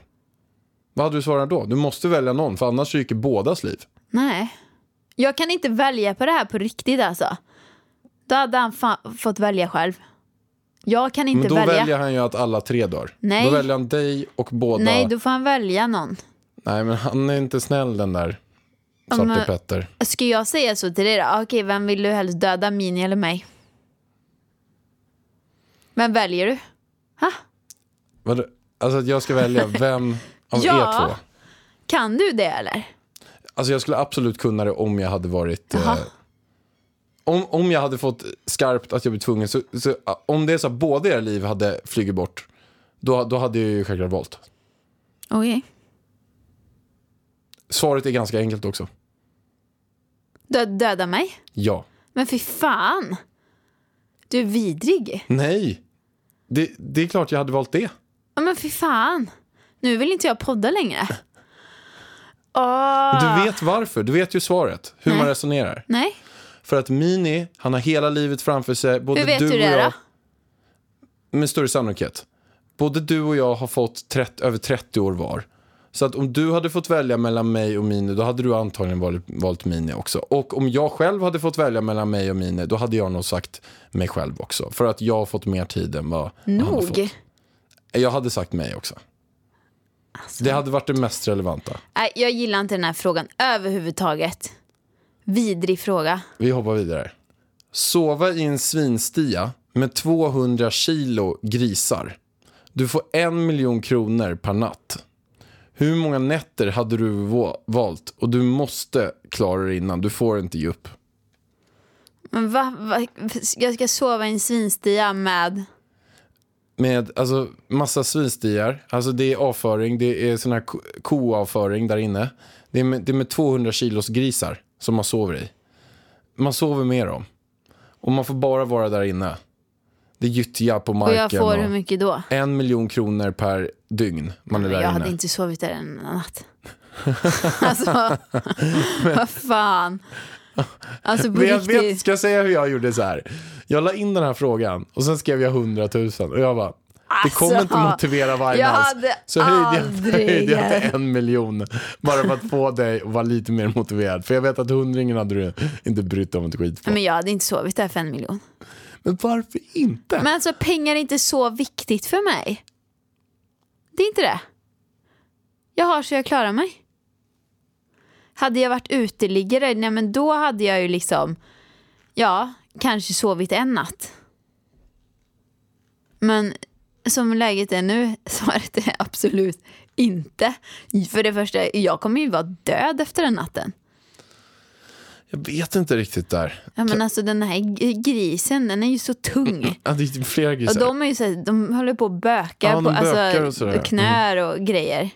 Vad hade du svarat då? Du måste välja någon, för annars ryker bådas liv.
Nej. Jag kan inte välja på det här på riktigt alltså. Då hade han fa- fått välja själv. Jag kan inte
Men då
välja.
väljer han ju att alla tre dör.
Nej.
Då väljer han dig och båda.
Nej, då får han välja någon.
Nej, men han är inte snäll den där
Ja, men-
Svarte Petter.
Ska jag säga så till dig då? Ah, Okej, vem vill du helst döda, Mini eller mig? Vem väljer du? Ha?
Vadå? Alltså att jag ska välja vem av
Ja.
er två.
Kan du det eller?
Alltså jag skulle absolut kunna det om jag hade varit... Eh,
Jaha.
om, om jag hade fått skarpt att jag blev tvungen. Så, så, ah, om det är så att båda era liv hade flugit bort, då, då hade jag ju självklart valt.
Okej.
Svaret är ganska enkelt också.
Dö- döda mig?
Ja.
Men fy fan! Du är vidrig.
Nej. Det, det är klart jag hade valt det.
Ja, Men fy fan! Nu vill inte jag podda längre. Åh.
Du vet varför. Du vet ju svaret. Hur man
Ah. Nej.
resonerar.
Nej,
För att Mini, han har hela livet framför sig. Både
hur vet
du
du,
och
det då?
jag. med större sannolikhet. Både du och jag har fått 30, över 30 år var. Så att om du hade fått välja mellan mig och Mini, då hade du antagligen valt, valt Mini också. Och om jag själv hade fått välja mellan mig och Mini, då hade jag nog sagt mig själv också. För att jag har fått mer tid än vad vad han har fått.
Nog.
Jag hade sagt mig också. Det hade varit det mest relevanta.
Nej, jag gillar inte den här frågan överhuvudtaget. Vidrig fråga.
Vi hoppar vidare. Sova i en svinstia med 200 kilo grisar. Du får en miljon kronor per natt. Hur många nätter hade du va- valt? Och du måste klara det innan. Du får inte ge upp.
Men va, va, jag ska sova i en svinstia med...
Med alltså, massa svinstiar. Alltså, det är avföring. Det är sån här ko- koavföring där inne. Det är, med, det är med 200 kilos grisar som man sover i. Man sover med dem. Och man får bara vara där inne. Det är gyttja på
Och
marken.
jag får hur mycket då?
en miljon kronor per dygn man är
Jag
där
hade
inne.
inte sovit där en natt. alltså, vad fan. Alltså på
Men jag vet,
riktigt.
ska jag säga hur jag gjorde så här? Jag la in den här frågan och sen skrev jag 100 000 och jag bara, det kommer
Alltså,
inte motivera varje
jag
alls.
hade
Så höjde jag,
aldrig-
höjde jag till en miljon bara för att få dig att vara lite mer motiverad. För jag vet att hundringen hade du inte brytt dig om ett skit på.
Men jag hade inte sovit där för en miljon.
Men varför inte?
Men alltså pengar är inte så viktigt för mig. Det är inte det. Jag har så jag klarar mig. Hade jag varit uteliggare, nej men då hade jag ju liksom, ja, kanske sovit en natt. Men som läget är nu, svaret är absolut inte. För det första, jag kommer ju vara död efter den natten.
Jag vet inte riktigt där.
Ja men alltså den här g- grisen, den är ju så tung.
Ja, det är flera
Och
grisar.
de, är ju så här, de håller på och bökar
Ja, de
på
bökar
alltså,
och sådär. Mm.
knör och grejer.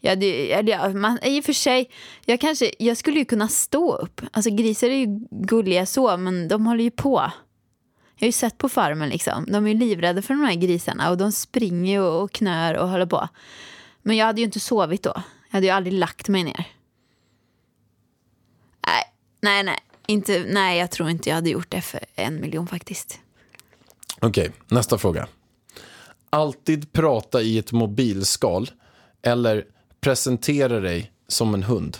Ja, det, ja, det, ja, man, I och för sig, jag, kanske, jag skulle ju kunna stå upp. Alltså grisar är ju gulliga så, men de håller ju på. Jag har ju sett på farmen liksom. De är ju livrädda för de här grisarna och de springer ju och knör och håller på. Men jag hade ju inte sovit då. Jag hade ju aldrig lagt mig ner. Nej, nej, nej. Inte, nej, jag tror inte jag hade gjort det för en miljon faktiskt.
Okej, nästa fråga. Alltid prata i ett mobilskal eller presentera dig som en hund.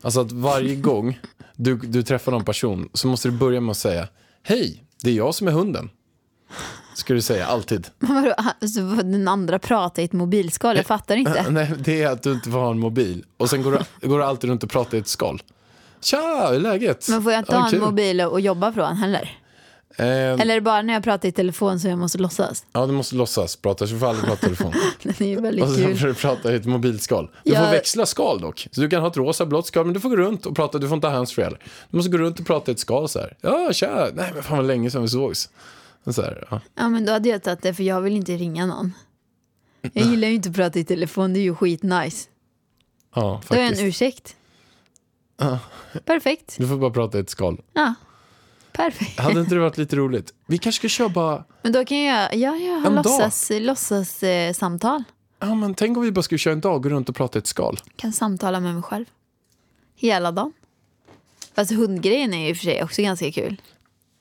Alltså att varje gång du, du träffar någon person så måste du börja med att säga Hej, det är jag som är hunden. Ska du säga alltid.
Men vadå, alltså, vad den andra pratar i ett mobilskal? Jag fattar inte.
Nej, det är att du inte får ha en mobil. Och sen går du, går du alltid runt och pratar i ett skal. Tja, hur är läget?
Men får jag inte
Ja,
ha en
kul.
mobil och jobba från heller?
Eh,
Eller är det bara när jag pratar i telefon så jag måste låtsas?
ja, du måste låtsas prata, så du får aldrig prata i telefon.
Den är ju
Och
väldigt
sen får
kul.
du prata i ett mobilskal. Du
Ja.
får växla skal dock. Så du kan ha ett rosa blått skal, men du får gå runt och prata. Du får inte ha handsfree heller. Du måste gå runt och prata i ett skal så här. Ja, tja. Nej, men fan vad länge sedan vi sågs. Så här, ja.
Ja men då hade jag tagit det för jag vill inte ringa någon. Jag gillar ju inte att prata i telefon, det är ju skitnice.
ja,
Då har jag
faktiskt.
en ursäkt. Perfekt.
Du får bara prata i ett skal.
Ja. Perfekt.
Hade inte det varit lite roligt? Vi kanske ska köra bara...
Men då kan jag, ja, jag har
En dag.
låtsas, låtsas eh, samtal.
Ja, men tänk om vi bara skulle köra en dag och gå runt och prata i ett skal.
Kan samtala med mig själv. Hela dagen. Fast hundgrejen är ju i och för sig också ganska kul.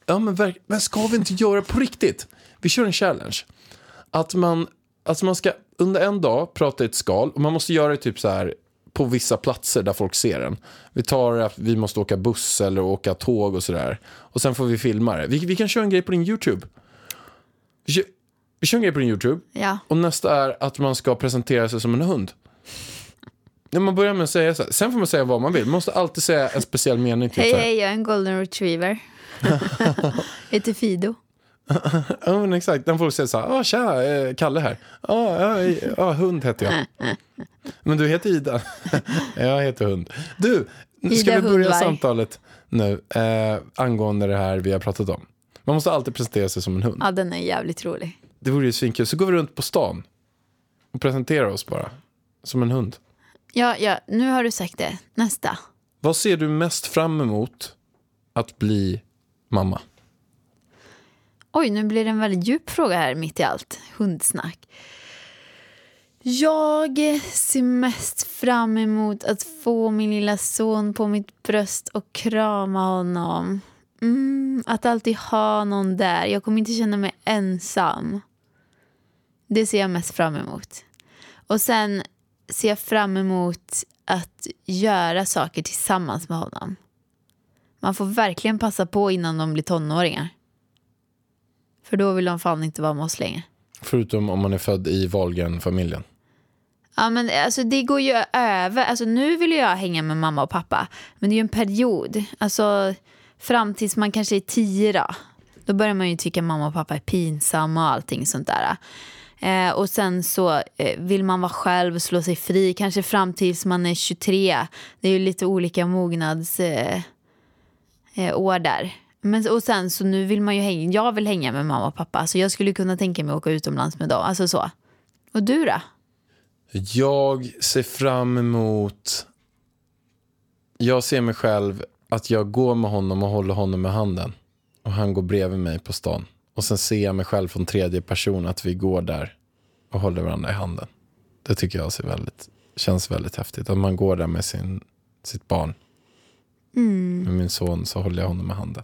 Ja, men, verk- men ska vi inte göra på riktigt? Vi kör en challenge. Att man, alltså man ska under en dag prata i ett skal och man måste göra det typ så här på vissa platser där folk ser en. Vi tar att vi måste åka buss eller åka tåg och sådär. Och sen får vi filma det. Vi, vi kan köra en grej på din YouTube. Vi kör, vi kör en grej på din YouTube.
Ja.
Och nästa är att man ska presentera sig som en hund. När man börjar med att säga så här. Sen får man säga vad man vill. Man måste alltid säga en speciell mening. Typ
Hej
så här.
hej, jag är en golden retriever. Heter Fido.
Ja, men exakt. Den får säga så här, ah, tja, eh, Kalle här. Ja, ja, eh, ja, hund heter jag. Men du heter Ida. jag heter hund. Du, nu ska
Ida
vi börja
Hundberg.
samtalet nu eh, angående det här vi har pratat om. Man måste alltid presentera sig som en hund.
Ja, den är jävligt rolig.
Det vore ju svinkul. Så går vi runt på stan och presenterar oss bara som en hund.
Ja, ja, nu har du sagt det. Nästa.
Vad ser du mest fram emot att bli mamma?
Oj, nu blir det en väldigt djup fråga här mitt i allt. Hundsnack. Jag ser mest fram emot att få min lilla son på mitt bröst och krama honom. Mm, att alltid ha någon där. Jag kommer inte känna mig ensam. Det ser jag mest fram emot. Och sen ser jag fram emot att göra saker tillsammans med honom. Man får verkligen passa på innan de blir tonåringar. För då vill de fan inte vara med oss längre.
Förutom om man är född i Wahlgren-familjen.
Ja, men alltså, det går ju över. Alltså, nu vill ju jag hänga med mamma och pappa. Men det är ju en period. Alltså, fram tills man kanske är tio då. Då börjar man ju tycka mamma och pappa är pinsamma och allting sånt där. Eh, och sen så eh, vill man vara själv och slå sig fri. Kanske fram tills man är 23. Det är ju lite olika mognads... Eh, eh, år där. Men, och sen så nu vill man ju hänga, jag vill hänga med mamma och pappa. Så jag skulle kunna tänka mig att åka utomlands med dem. Alltså så. Och du då?
Jag ser fram emot... Jag ser mig själv att jag går med honom och håller honom med handen. Och han går bredvid mig på stan. Och sen ser jag mig själv från tredje person att vi går där och håller varandra i handen. Det tycker jag ser väldigt, känns väldigt häftigt. Att man går där med sin, sitt barn. Med min son så håller jag honom med handen.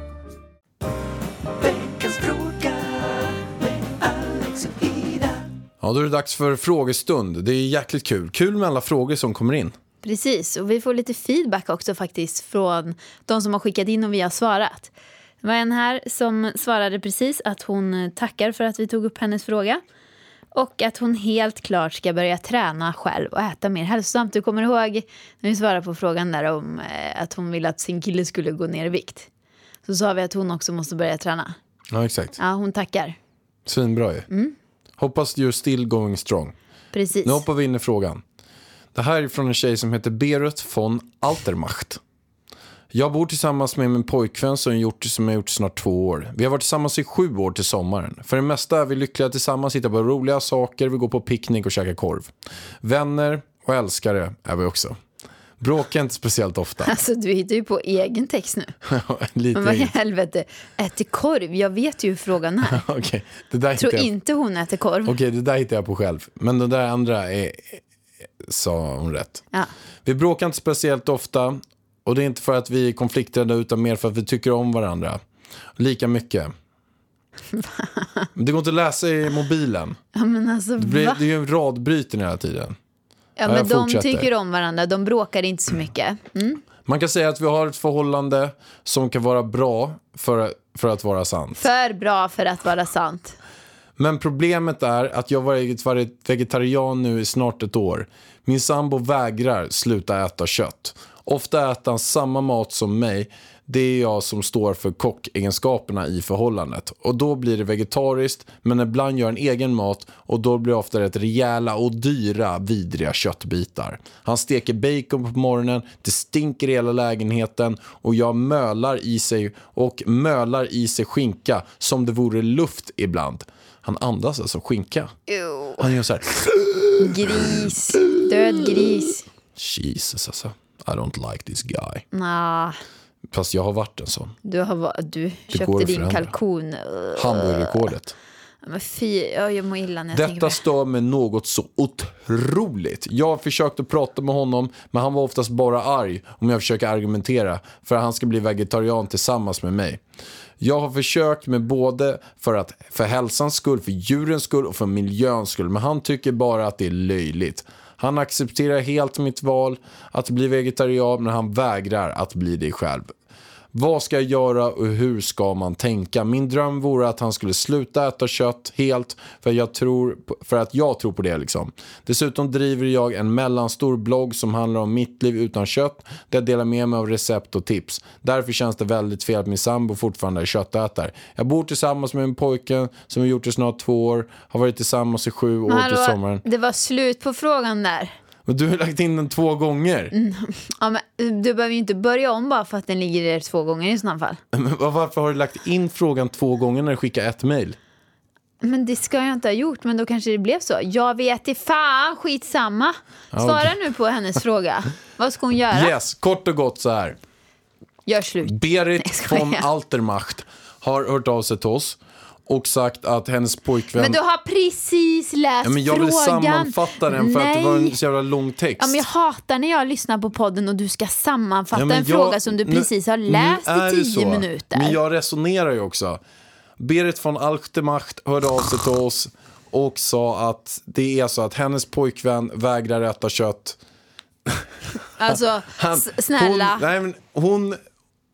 Veckans fråga med Alex och Ida.
Ja, då är det dags för frågestund. Det är jäkligt kul. Kul med alla frågor som kommer in.
Precis, och vi får lite feedback också faktiskt från de som har skickat in och vi har svarat. Det var en här som svarade precis att hon eh, tackar för att vi tog upp hennes fråga och att hon helt klart ska börja träna själv och äta mer hälsosamt. Du kommer ihåg när vi svarade på frågan där om eh, att hon ville att sin kille skulle gå ner i vikt. Så sa vi att hon också måste börja träna.
Ja, exakt.
Ja, hon tackar.
Svinbra ju.
Mm.
Hoppas you're still going strong.
Precis.
Nu hoppar vi in i frågan. Det här är från en tjej som heter Berut von Altermacht. Jag bor tillsammans med min pojkvän som, gjort, som jag gjort i snart två år. Vi har varit tillsammans i sju år till sommaren. För det mesta är vi lyckliga tillsammans, hittar på roliga saker, vi går på picknick och käkar korv. Vänner och älskare är vi också. Bråkar inte speciellt ofta.
Alltså du hittar ju på egen text nu.
Lite
Men vad i
eget.
helvete, äter korv? Jag vet ju hur frågan är.
Okej, det där
tror
hittar jag-
inte hon äter korv.
Okej, det där hittar jag på själv. Men den där andra är, sa hon rätt.
Ja.
Vi bråkar inte speciellt ofta och det är inte för att vi är konflikträdda utan mer för att vi tycker om varandra. Lika mycket. Men det går inte att läsa i mobilen.
ja, men alltså
Det, blir,
va?
det är ju radbryten hela tiden.
Ja, men
jag
de
fortsätter.
tycker om varandra, de bråkar inte så mycket. Mm.
Man kan säga att vi har ett förhållande som kan vara bra för, för att vara sant.
För bra för att vara sant.
Men problemet är att jag har varit vegetarian nu i snart ett år. Min sambo vägrar sluta äta kött. Ofta äter han samma mat som mig. Det är jag som står för kockegenskaperna i förhållandet. Och då blir det vegetariskt, men ibland gör en egen mat och då blir det ofta rätt rejäla och dyra vidriga köttbitar. Han steker bacon på morgonen, det stinker i hela lägenheten och jag mölar i sig och mölar i sig skinka som det vore luft ibland. Han andas alltså skinka.
Ew.
Han gör så här.
Gris. Död gris.
Jesus alltså. I don't like this guy.
Nah,
Fast jag har varit en sån.
du, har, va- du
går
köpte
att
din
förändra.
kalkon. Ugh.
Han var ju rekordet.
Men fy, ja, jag mår illa när jag tänker på
Detta
det.
stör mig något så otroligt. Jag försökte prata med honom, men han var oftast bara arg om jag försöker argumentera för att han ska bli vegetarian tillsammans med mig. Jag har försökt med både för, att, för hälsans skull, för djurens skull och för miljöns skull, men han tycker bara att det är löjligt. Han accepterar helt mitt val att bli vegetarian, men han vägrar att bli det själv. Vad ska jag göra och hur ska man tänka? Min dröm vore att han skulle sluta äta kött helt för, jag tror, på- för att jag tror på det. Liksom. Dessutom driver jag en mellanstor blogg som handlar om mitt liv utan kött där jag delar med mig av recept och tips. Därför känns det väldigt fel att min sambo fortfarande är köttätare. Jag bor tillsammans med min pojke som vi gjort i snart två år, har varit tillsammans i sju år till sommaren.
det var slut på frågan där.
Men du har lagt in den två gånger.
Ja, men, du behöver ju inte börja om bara för att den ligger där två gånger i sådana fall.
Men varför har du lagt in frågan två gånger när du skickar ett mejl?
Men det ska jag inte ha gjort, men då kanske det blev så. Jag vet i fan, skitsamma. Svara
okej.
nu på hennes fråga. Vad ska hon göra?
Yes, kort och gott så här.
Gör slut. jag
Berit
skojar.
von Altermacht har hört av sig till oss och sagt att hennes pojkvän...
Men du har precis läst
ja, men jag
frågan.
vill sammanfatta den för
Nej.
att det var en så jävla lång text.
Ja, men jag hatar när jag lyssnar på podden och du ska sammanfatta
Ja, men
en
jag-
fråga som du
nu-
precis har
nu
läst
är det
i
så.
tio minuter.
Men jag resonerar ju också. Berit von Altermacht hörde av sig till oss och sa att det är så att hennes pojkvän vägrar äta kött.
Alltså, s- snälla.
Hon, nej, men hon,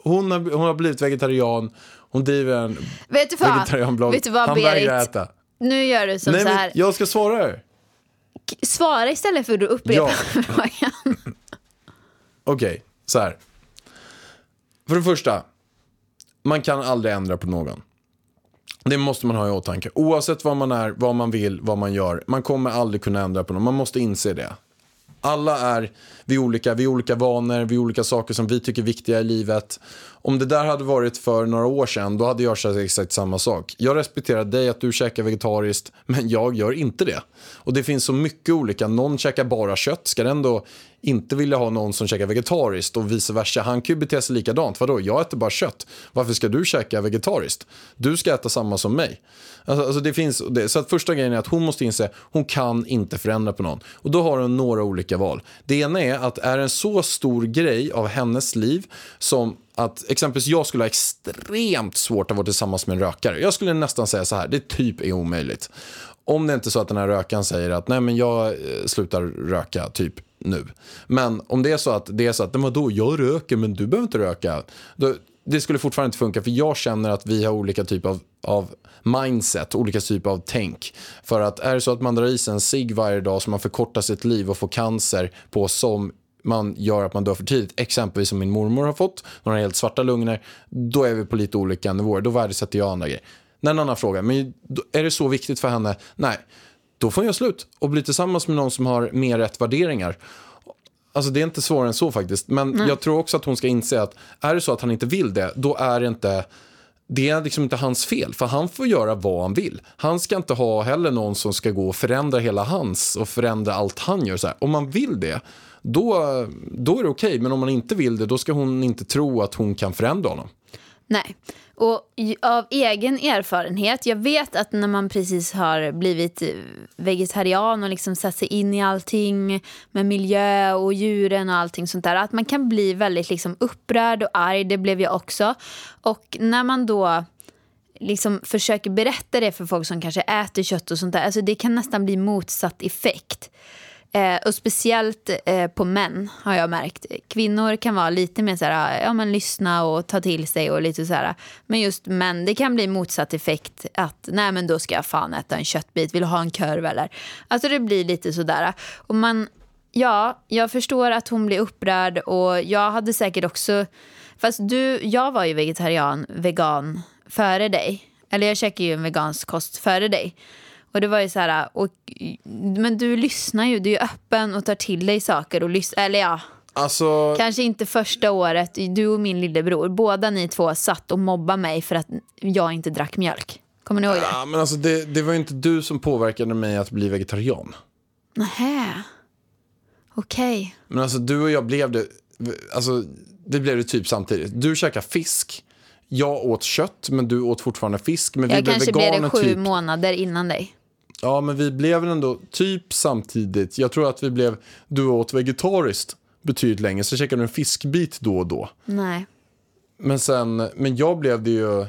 hon, har, hon har blivit vegetarian. Hon driver en
vet du vad,
vegetarianblogg.
vet du vad
Han vägrar
Berit?
äta.
Nu gör du som
Nej,
så
men
här.
jag ska svara här.
Svara istället för att du upprepar
Ja.
frågan.
Okej, så här. För det första, man kan aldrig ändra på någon. Det måste man ha i åtanke. Oavsett vad man är, vad man vill, vad man gör. Man kommer aldrig kunna ändra på någon. Man måste inse det. Alla är, vi är olika, vi är olika vanor, vi är olika saker som vi tycker är viktiga i livet. Om det där hade varit för några år sedan, då hade jag sagt exakt samma sak. Jag respekterar dig att du käkar vegetariskt, men jag gör inte det. Och det finns så mycket olika. Någon käkar bara kött, ska den då inte vilja ha någon som käkar vegetariskt och vice versa. Han kan ju bete sig likadant. Vadå, jag äter bara kött. Varför ska du käka vegetariskt? Du ska äta samma som mig. Alltså, alltså det finns, det, så att första grejen är att hon måste inse hon kan inte förändra på någon. Och då har hon några olika val. Det ena är att är en så stor grej av hennes liv som att exempelvis jag skulle ha extremt svårt att vara tillsammans med en rökare. Jag skulle nästan säga så här, det typ är omöjligt. Om det inte är så att den här rökaren säger att nej men jag eh, slutar röka typ nu. Men om det är så att det är så att, "Men vadå, jag röker men du behöver inte röka. Då, det skulle fortfarande inte funka för jag känner att vi har olika typ av, av mindset, olika typ av tänk. För att är det så att man drar i sig en cigg varje dag så man förkortar sitt liv och får cancer på som man gör att man dör för tidigt, exempelvis som min mormor har fått, hon har helt svarta lungor, då är vi på lite olika nivåer, då värdesätter jag andra grejer. Det är en annan fråga, men då- är det så viktigt för henne? Nej, då får jag slut och bli tillsammans med någon som har mer rätt värderingar. Alltså det är inte svårare än så faktiskt. Men jag tror också att hon ska inse att är det så att han inte vill det, då är det inte det är liksom inte hans fel, för han får göra vad han vill. Han ska inte ha heller någon som ska gå och förändra hela hans och förändra allt han gör. Så här. Om man vill det, då, då är det okej. Men om man inte vill det, då ska hon inte tro att hon kan förändra honom.
Nej. Och ju- av egen erfarenhet, jag vet att när man precis har blivit eh, vegetarian och liksom satt sig in i allting med miljö och djuren och allting sånt där, att man kan bli väldigt liksom upprörd och arg, det blev jag också. Och när man då liksom försöker berätta det för folk som kanske äter kött och sånt där, alltså det kan nästan bli motsatt effekt. Eh, och speciellt eh, på män har jag märkt. Kvinnor kan vara lite mer så här, ah, ja men lyssna och ta till sig och lite så här. Men just män, det kan bli motsatt effekt att nej men då ska jag fan äta en köttbit, vill du ha en korv eller? Alltså det blir lite sådär. Och man, ja, jag förstår att hon blir upprörd och jag hade säkert också, fast du, jag var ju vegetarian, vegan före dig. Eller jag käkade ju en vegansk kost före dig. Och det var ju så här, och, men du lyssnar ju, du är öppen och tar till dig saker och lyssnar, eller ja,
Alltså,
kanske inte första året, du och min lillebror, båda ni två satt och mobbade mig för att jag inte drack mjölk. Kommer ni ihåg det?
ja, men alltså det, det var ju inte du som påverkade mig att bli vegetarian.
Nähä. Okej.
Men alltså du och jag blev det, alltså det blev det typ samtidigt. Du käkade fisk, jag åt kött men du åt fortfarande fisk. Men vi
Jag
blev
kanske blev det
veganer
sju
typ.
månader innan dig.
Ja men vi blev väl ändå typ samtidigt. Jag tror att vi blev, du åt vegetariskt betydligt länge. Så käkade du en fiskbit då och då.
Nej.
Men sen, men jag blev det ju,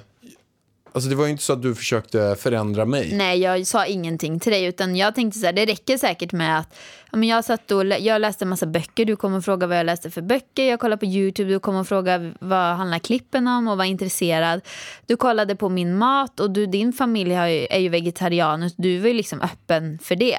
alltså det var ju inte så att du försökte förändra mig.
Nej, jag sa ingenting till dig. Utan jag tänkte så här, det räcker säkert med att ja, men jag, satt och, lä- jag läste en massa böcker. Du kommer fråga vad jag läste för böcker. Jag kollade på YouTube. Du kommer fråga vad handlar klippen om och var intresserad. Du kollade på min mat och du, din familj har ju, är ju vegetarianer. så Du var ju liksom öppen för det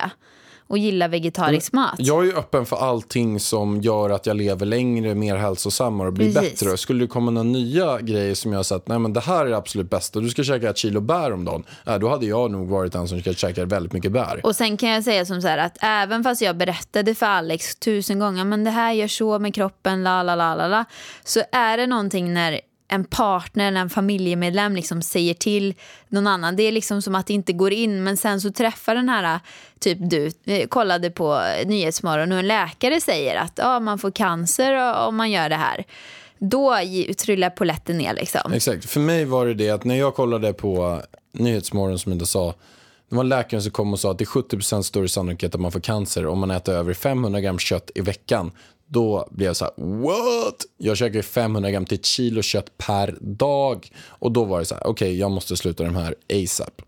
och gillar vegetarisk mat.
Jag är ju öppen för allting som gör att jag lever längre, mer hälsosammare och blir
Precis.
bättre. Och Skulle det komma några nya grejer som jag har sett, nej men det här är det absolut bästa, du ska käka ett kilo bär om dagen. Äh, då hade jag nog varit den som ska käka väldigt mycket bär.
Och sen kan jag säga som så här att även fast jag berättade för Alex tusen gånger men det här gör så med kroppen, la la la la la. Så är det någonting när en partner eller en familjemedlem liksom säger till någon annan. Det är liksom som att det inte går in men sen så träffar den här typ du eh, kollade på eh, Nyhetsmorgon och en läkare säger att ah, man får cancer eh, om man gör det här. Då gi- trillar polletten ner liksom.
Exakt. För mig var det det att när jag kollade på Nyhetsmorgon som inte sa det var läkaren som kom och sa att det är 70 större sannolikhet att man får cancer om man äter över 500 gram kött i veckan. Då blev jag så här, what? Jag käkar ju 500 gram till ett kilo kött per dag. Och då var det så här, okej, jag måste sluta de här ASAP.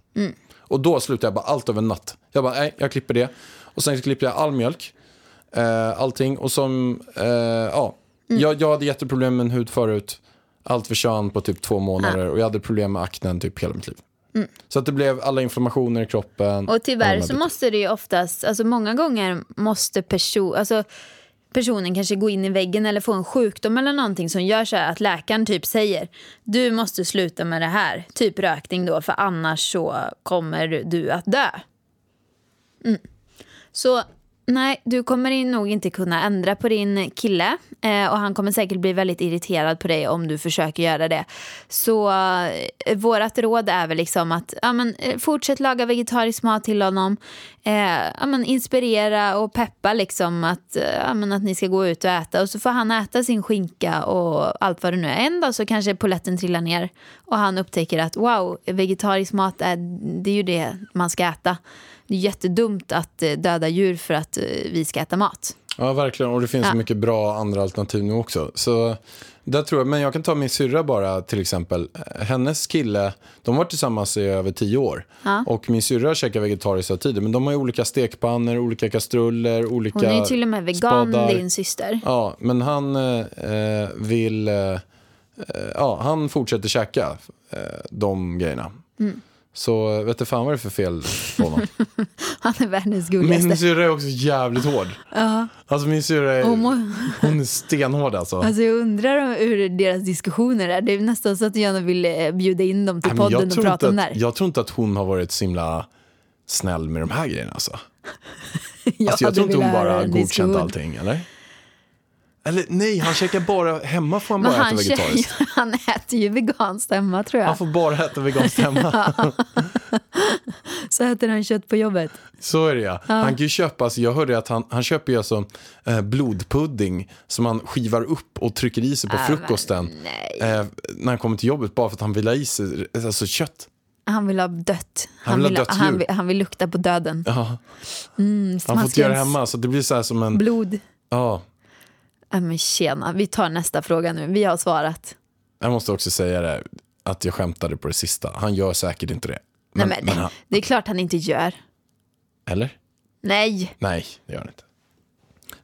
Och då slutade jag bara allt över en natt. Jag bara, nej, jag klipper det. Och sen klipper jag all mjölk eh, allting. Och som, eh, ja,
Mm.
jag, jag hade jätteproblem med min hud förut. Allt försvann på typ två månader
Ah.
och jag hade problem med aknen typ hela mitt liv. Så att det blev alla inflammationer i kroppen.
Mm. Och
alla
tyvärr
de här
så
bitarna.
måste det ju oftast, alltså många gånger måste person, alltså personen kanske gå in i väggen eller få en sjukdom eller någonting som gör så här att läkaren typ säger du måste sluta med det här, typ rökning då för annars så kommer du att dö. Mm. Så Nej, du kommer in- nog inte kunna ändra på din kille eh, och han kommer säkert bli väldigt irriterad på dig om du försöker göra det. Så eh, vårt råd är väl liksom att ja, men, eh, fortsätt laga vegetarisk mat till honom. Eh, ja, men, inspirera och peppa liksom att, eh, ja, men, att ni ska gå ut och äta och så får han äta sin skinka och allt vad det nu är. En dag så kanske poletten trillar ner och han upptäcker att wow, vegetarisk mat är, det är ju det man ska äta. Det är jättedumt att eh, döda djur för att eh, vi ska äta mat.
Ja, verkligen. Och det
Ah.
finns så mycket bra andra alternativ nu också. Så där tror jag, men jag kan ta min syrra bara till exempel. Eh, Hennes kille, de har varit tillsammans i över tio år.
Ah.
Och min syrra käkar vegetariskt hela tiden. Men de har ju olika stekpannor, olika kastruller, olika
Hon är ju till och med vegan,
spadar.
din syster.
Ja, men han eh, eh, vill... Eh, eh, ja, han fortsätter käka eh, de grejerna.
Mm.
Så eh, vet du fan vad det är för fel på honom.
Han är världens
Min
gulligaste.
syrra är också jävligt hård. Alltså min syrra är,
Hon må-
hon är stenhård alltså.
Alltså jag undrar om- hur deras diskussioner är. Det är nästan så att jag gärna vill eh, bjuda in dem till
Nej, men
podden
jag,
och
tror inte
prata om det
att,
här.
jag tror inte att hon har varit så himla snäll med de här grejerna alltså. Alltså, jag
hade
tror inte hon
velat höra
bara
en
godkänt
diskussion.
allting, eller? Eller nej, han käkar bara, hemma får han
Men
bara äta
han,
vegetariskt.
tjej- han äter ju veganskt hemma tror
Han
jag.
får bara äta veganskt hemma.
Så äter han kött på jobbet.
Så är det ja. Han kan ju köpa, alltså, jag hörde att han, han köper ju alltså eh, blodpudding som han skivar upp och trycker i sig
Äh,
på frukosten. Eh, när han kommer till jobbet bara för att han vill ha i sig alltså, kött.
Han vill ha dött.
Han vill ha dött
han,
djur.
vill, han vill lukta på döden.
Ja,
Mm,
han får
smaskens
inte göra det hemma så det blir så här som en,
Blod.
ja.
Ja, men tjena, vi tar nästa fråga nu. Vi har svarat.
Jag måste också säga det, att jag skämtade på det sista. Han gör säkert inte det.
Nej,
Men,
men,
men han,
Det är klart han inte gör.
eller?
Nej.
Nej, det gör han inte.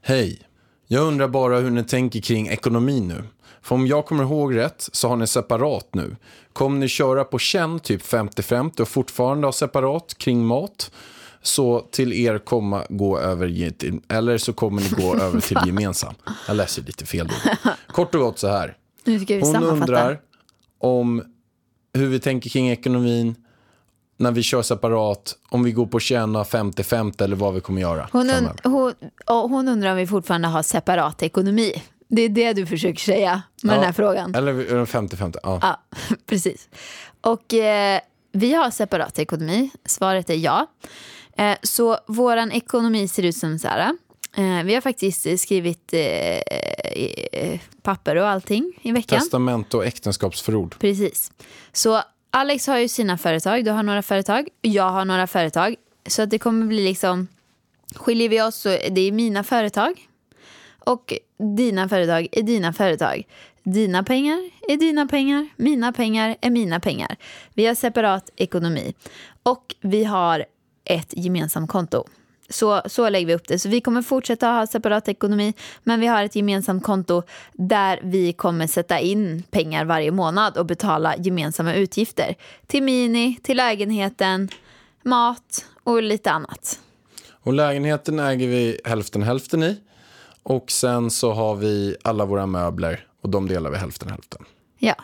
Hej. Jag undrar bara hur ni tänker kring ekonomin nu. För om jag kommer ihåg rätt så har ni separat nu. Kommer ni köra på känn typ 50-50 och fortfarande ha separat kring mat? Så till er komma gå över, ge- eller så kommer ni gå över till gemensam. Jag läser lite fel då. Kort och gott så här.
Nu ska vi
Hon
sammanfatta.
undrar om hur vi tänker kring ekonomin när vi kör separat, om vi går på tjäna 50-50 eller vad vi kommer göra.
hon, un-
framöver.
hon, och hon undrar om vi fortfarande har separat ekonomi. Det är det du försöker säga med den här
Ja,
frågan.
Eller vi- eller 50-50, ja.
Ja, precis. Och eh, vi har separat ekonomi. Svaret är ja. Eh, så vår ekonomi ser ut som så här. Eh, vi har faktiskt skrivit eh, eh, papper och allting i veckan.
Testament och äktenskapsförord.
Precis. Så Alex har ju sina företag, du har några företag, jag har några företag. Så att det kommer bli liksom, skiljer vi oss så är det är mina företag och dina företag är dina företag. Dina pengar är dina pengar, mina pengar är mina pengar. Vi har separat ekonomi och vi har ett gemensamt konto. Så, så lägger vi upp det. Så vi kommer fortsätta ha separat ekonomi, men vi har ett gemensamt konto där vi kommer sätta in pengar varje månad och betala gemensamma utgifter. Till Mini, till lägenheten, mat och lite annat.
Och lägenheten äger vi hälften hälften i. Och sen så har vi alla våra möbler och de delar vi hälften hälften.
Ja,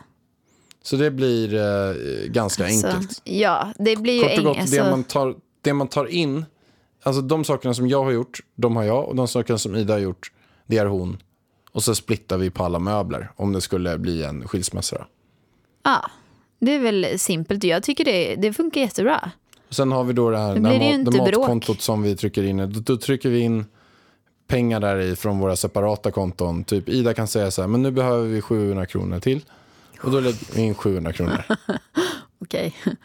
Så det blir eh, ganska
så,
enkelt.
ja det blir ju
Kort och
eng-
gott, det
alltså-
man, tar, det man tar in, alltså de sakerna som jag har gjort, de har jag och de sakerna som Ida har gjort, det är hon. Och så splittar vi på alla möbler om det skulle bli en skilsmässa. då.
Ja, det är väl simpelt. Jag tycker det, det funkar jättebra.
Och sen har vi då det här
Då
det
blir det ju
mat, det
inte bråk.
matkontot som vi trycker in. Då, då trycker vi in pengar där i från våra separata konton. Typ Ida kan säga så här, men nu behöver vi 700 kronor till. Och då lägger vi in 700 kronor.
Okej.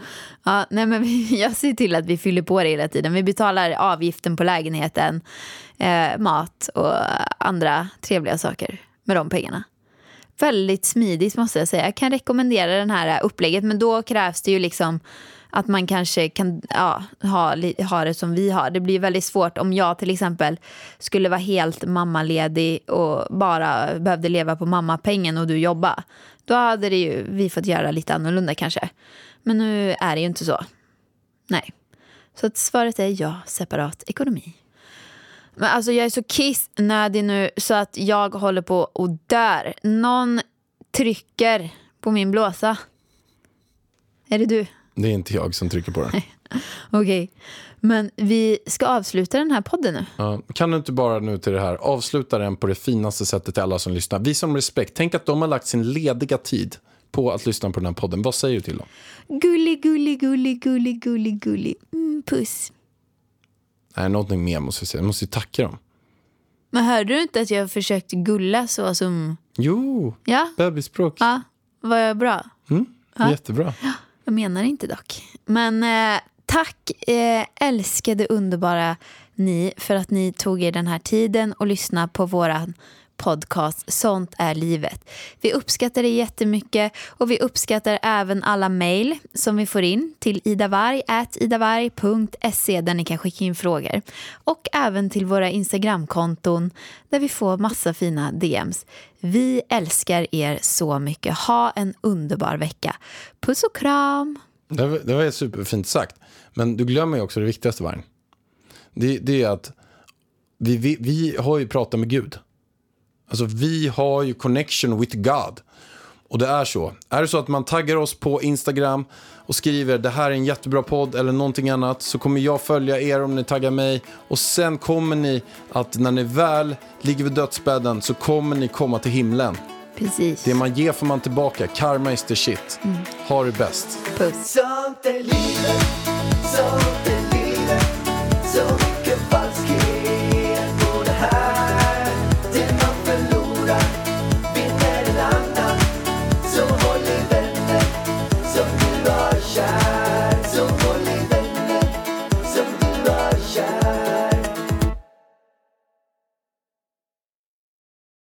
Ja, nej men vi, jag ser till att vi fyller på det hela tiden. Vi betalar avgiften på lägenheten, eh, mat och andra trevliga saker med de pengarna. Väldigt smidigt måste jag säga. Jag kan rekommendera den här upplägget men då krävs det ju liksom att man kanske kan ja, ha, li- ha det som vi har. Det blir väldigt svårt om jag till exempel skulle vara helt mammaledig och bara behövde leva på mammapengen och du jobba. Då hade det ju, vi fått göra lite annorlunda kanske. Men nu är det ju inte så. Nej. Så att svaret är ja, separat ekonomi. Men alltså jag är så kissnödig nu så att jag håller på och dör. Någon trycker på min blåsa. Är det du?
Det är inte jag som trycker på den.
Okej. Men vi ska avsluta den här podden nu.
Ja, kan du inte bara nu till det här avsluta den på det finaste sättet till alla som lyssnar? Visa dem respekt. Tänk att de har lagt sin lediga tid på att lyssna på den här podden. Vad säger du till dem?
Gullig, gullig, gullig, gullig, gullig, gullig. Mm, puss.
Nej, någonting mer måste vi säga. Vi måste ju tacka dem.
Men hörde du inte att jag försökte gulla så som...
Jo,
Ja,
bebisspråk.
ja var jag bra?
Jättebra.
Jag menar inte dock. Men eh, tack eh, älskade underbara ni för att ni tog er den här tiden och lyssnade på våran podcast Sånt är livet. Vi uppskattar det jättemycket och vi uppskattar även alla mejl som vi får in till idavarg.idavarg.se där ni kan skicka in frågor. Och även till våra Instagramkonton där vi får massa fina DMs. Vi älskar er så mycket. Ha en underbar vecka. Puss och kram!
Det var, det var superfint sagt. Men du glömmer ju också det viktigaste, Varg. Det, det är att vi, vi, vi har ju pratat med Gud. Alltså vi har ju connection with God. Och det är så. Är det så att man taggar oss på Instagram och skriver det här är en jättebra podd eller någonting annat så kommer jag följa er om ni taggar mig. Och sen kommer ni att när ni väl ligger vid dödsbädden så kommer ni komma till himlen.
Precis.
Det man ger får man tillbaka. Karma is the shit. Ha det bäst.
Puss.
Sånt är livet, sånt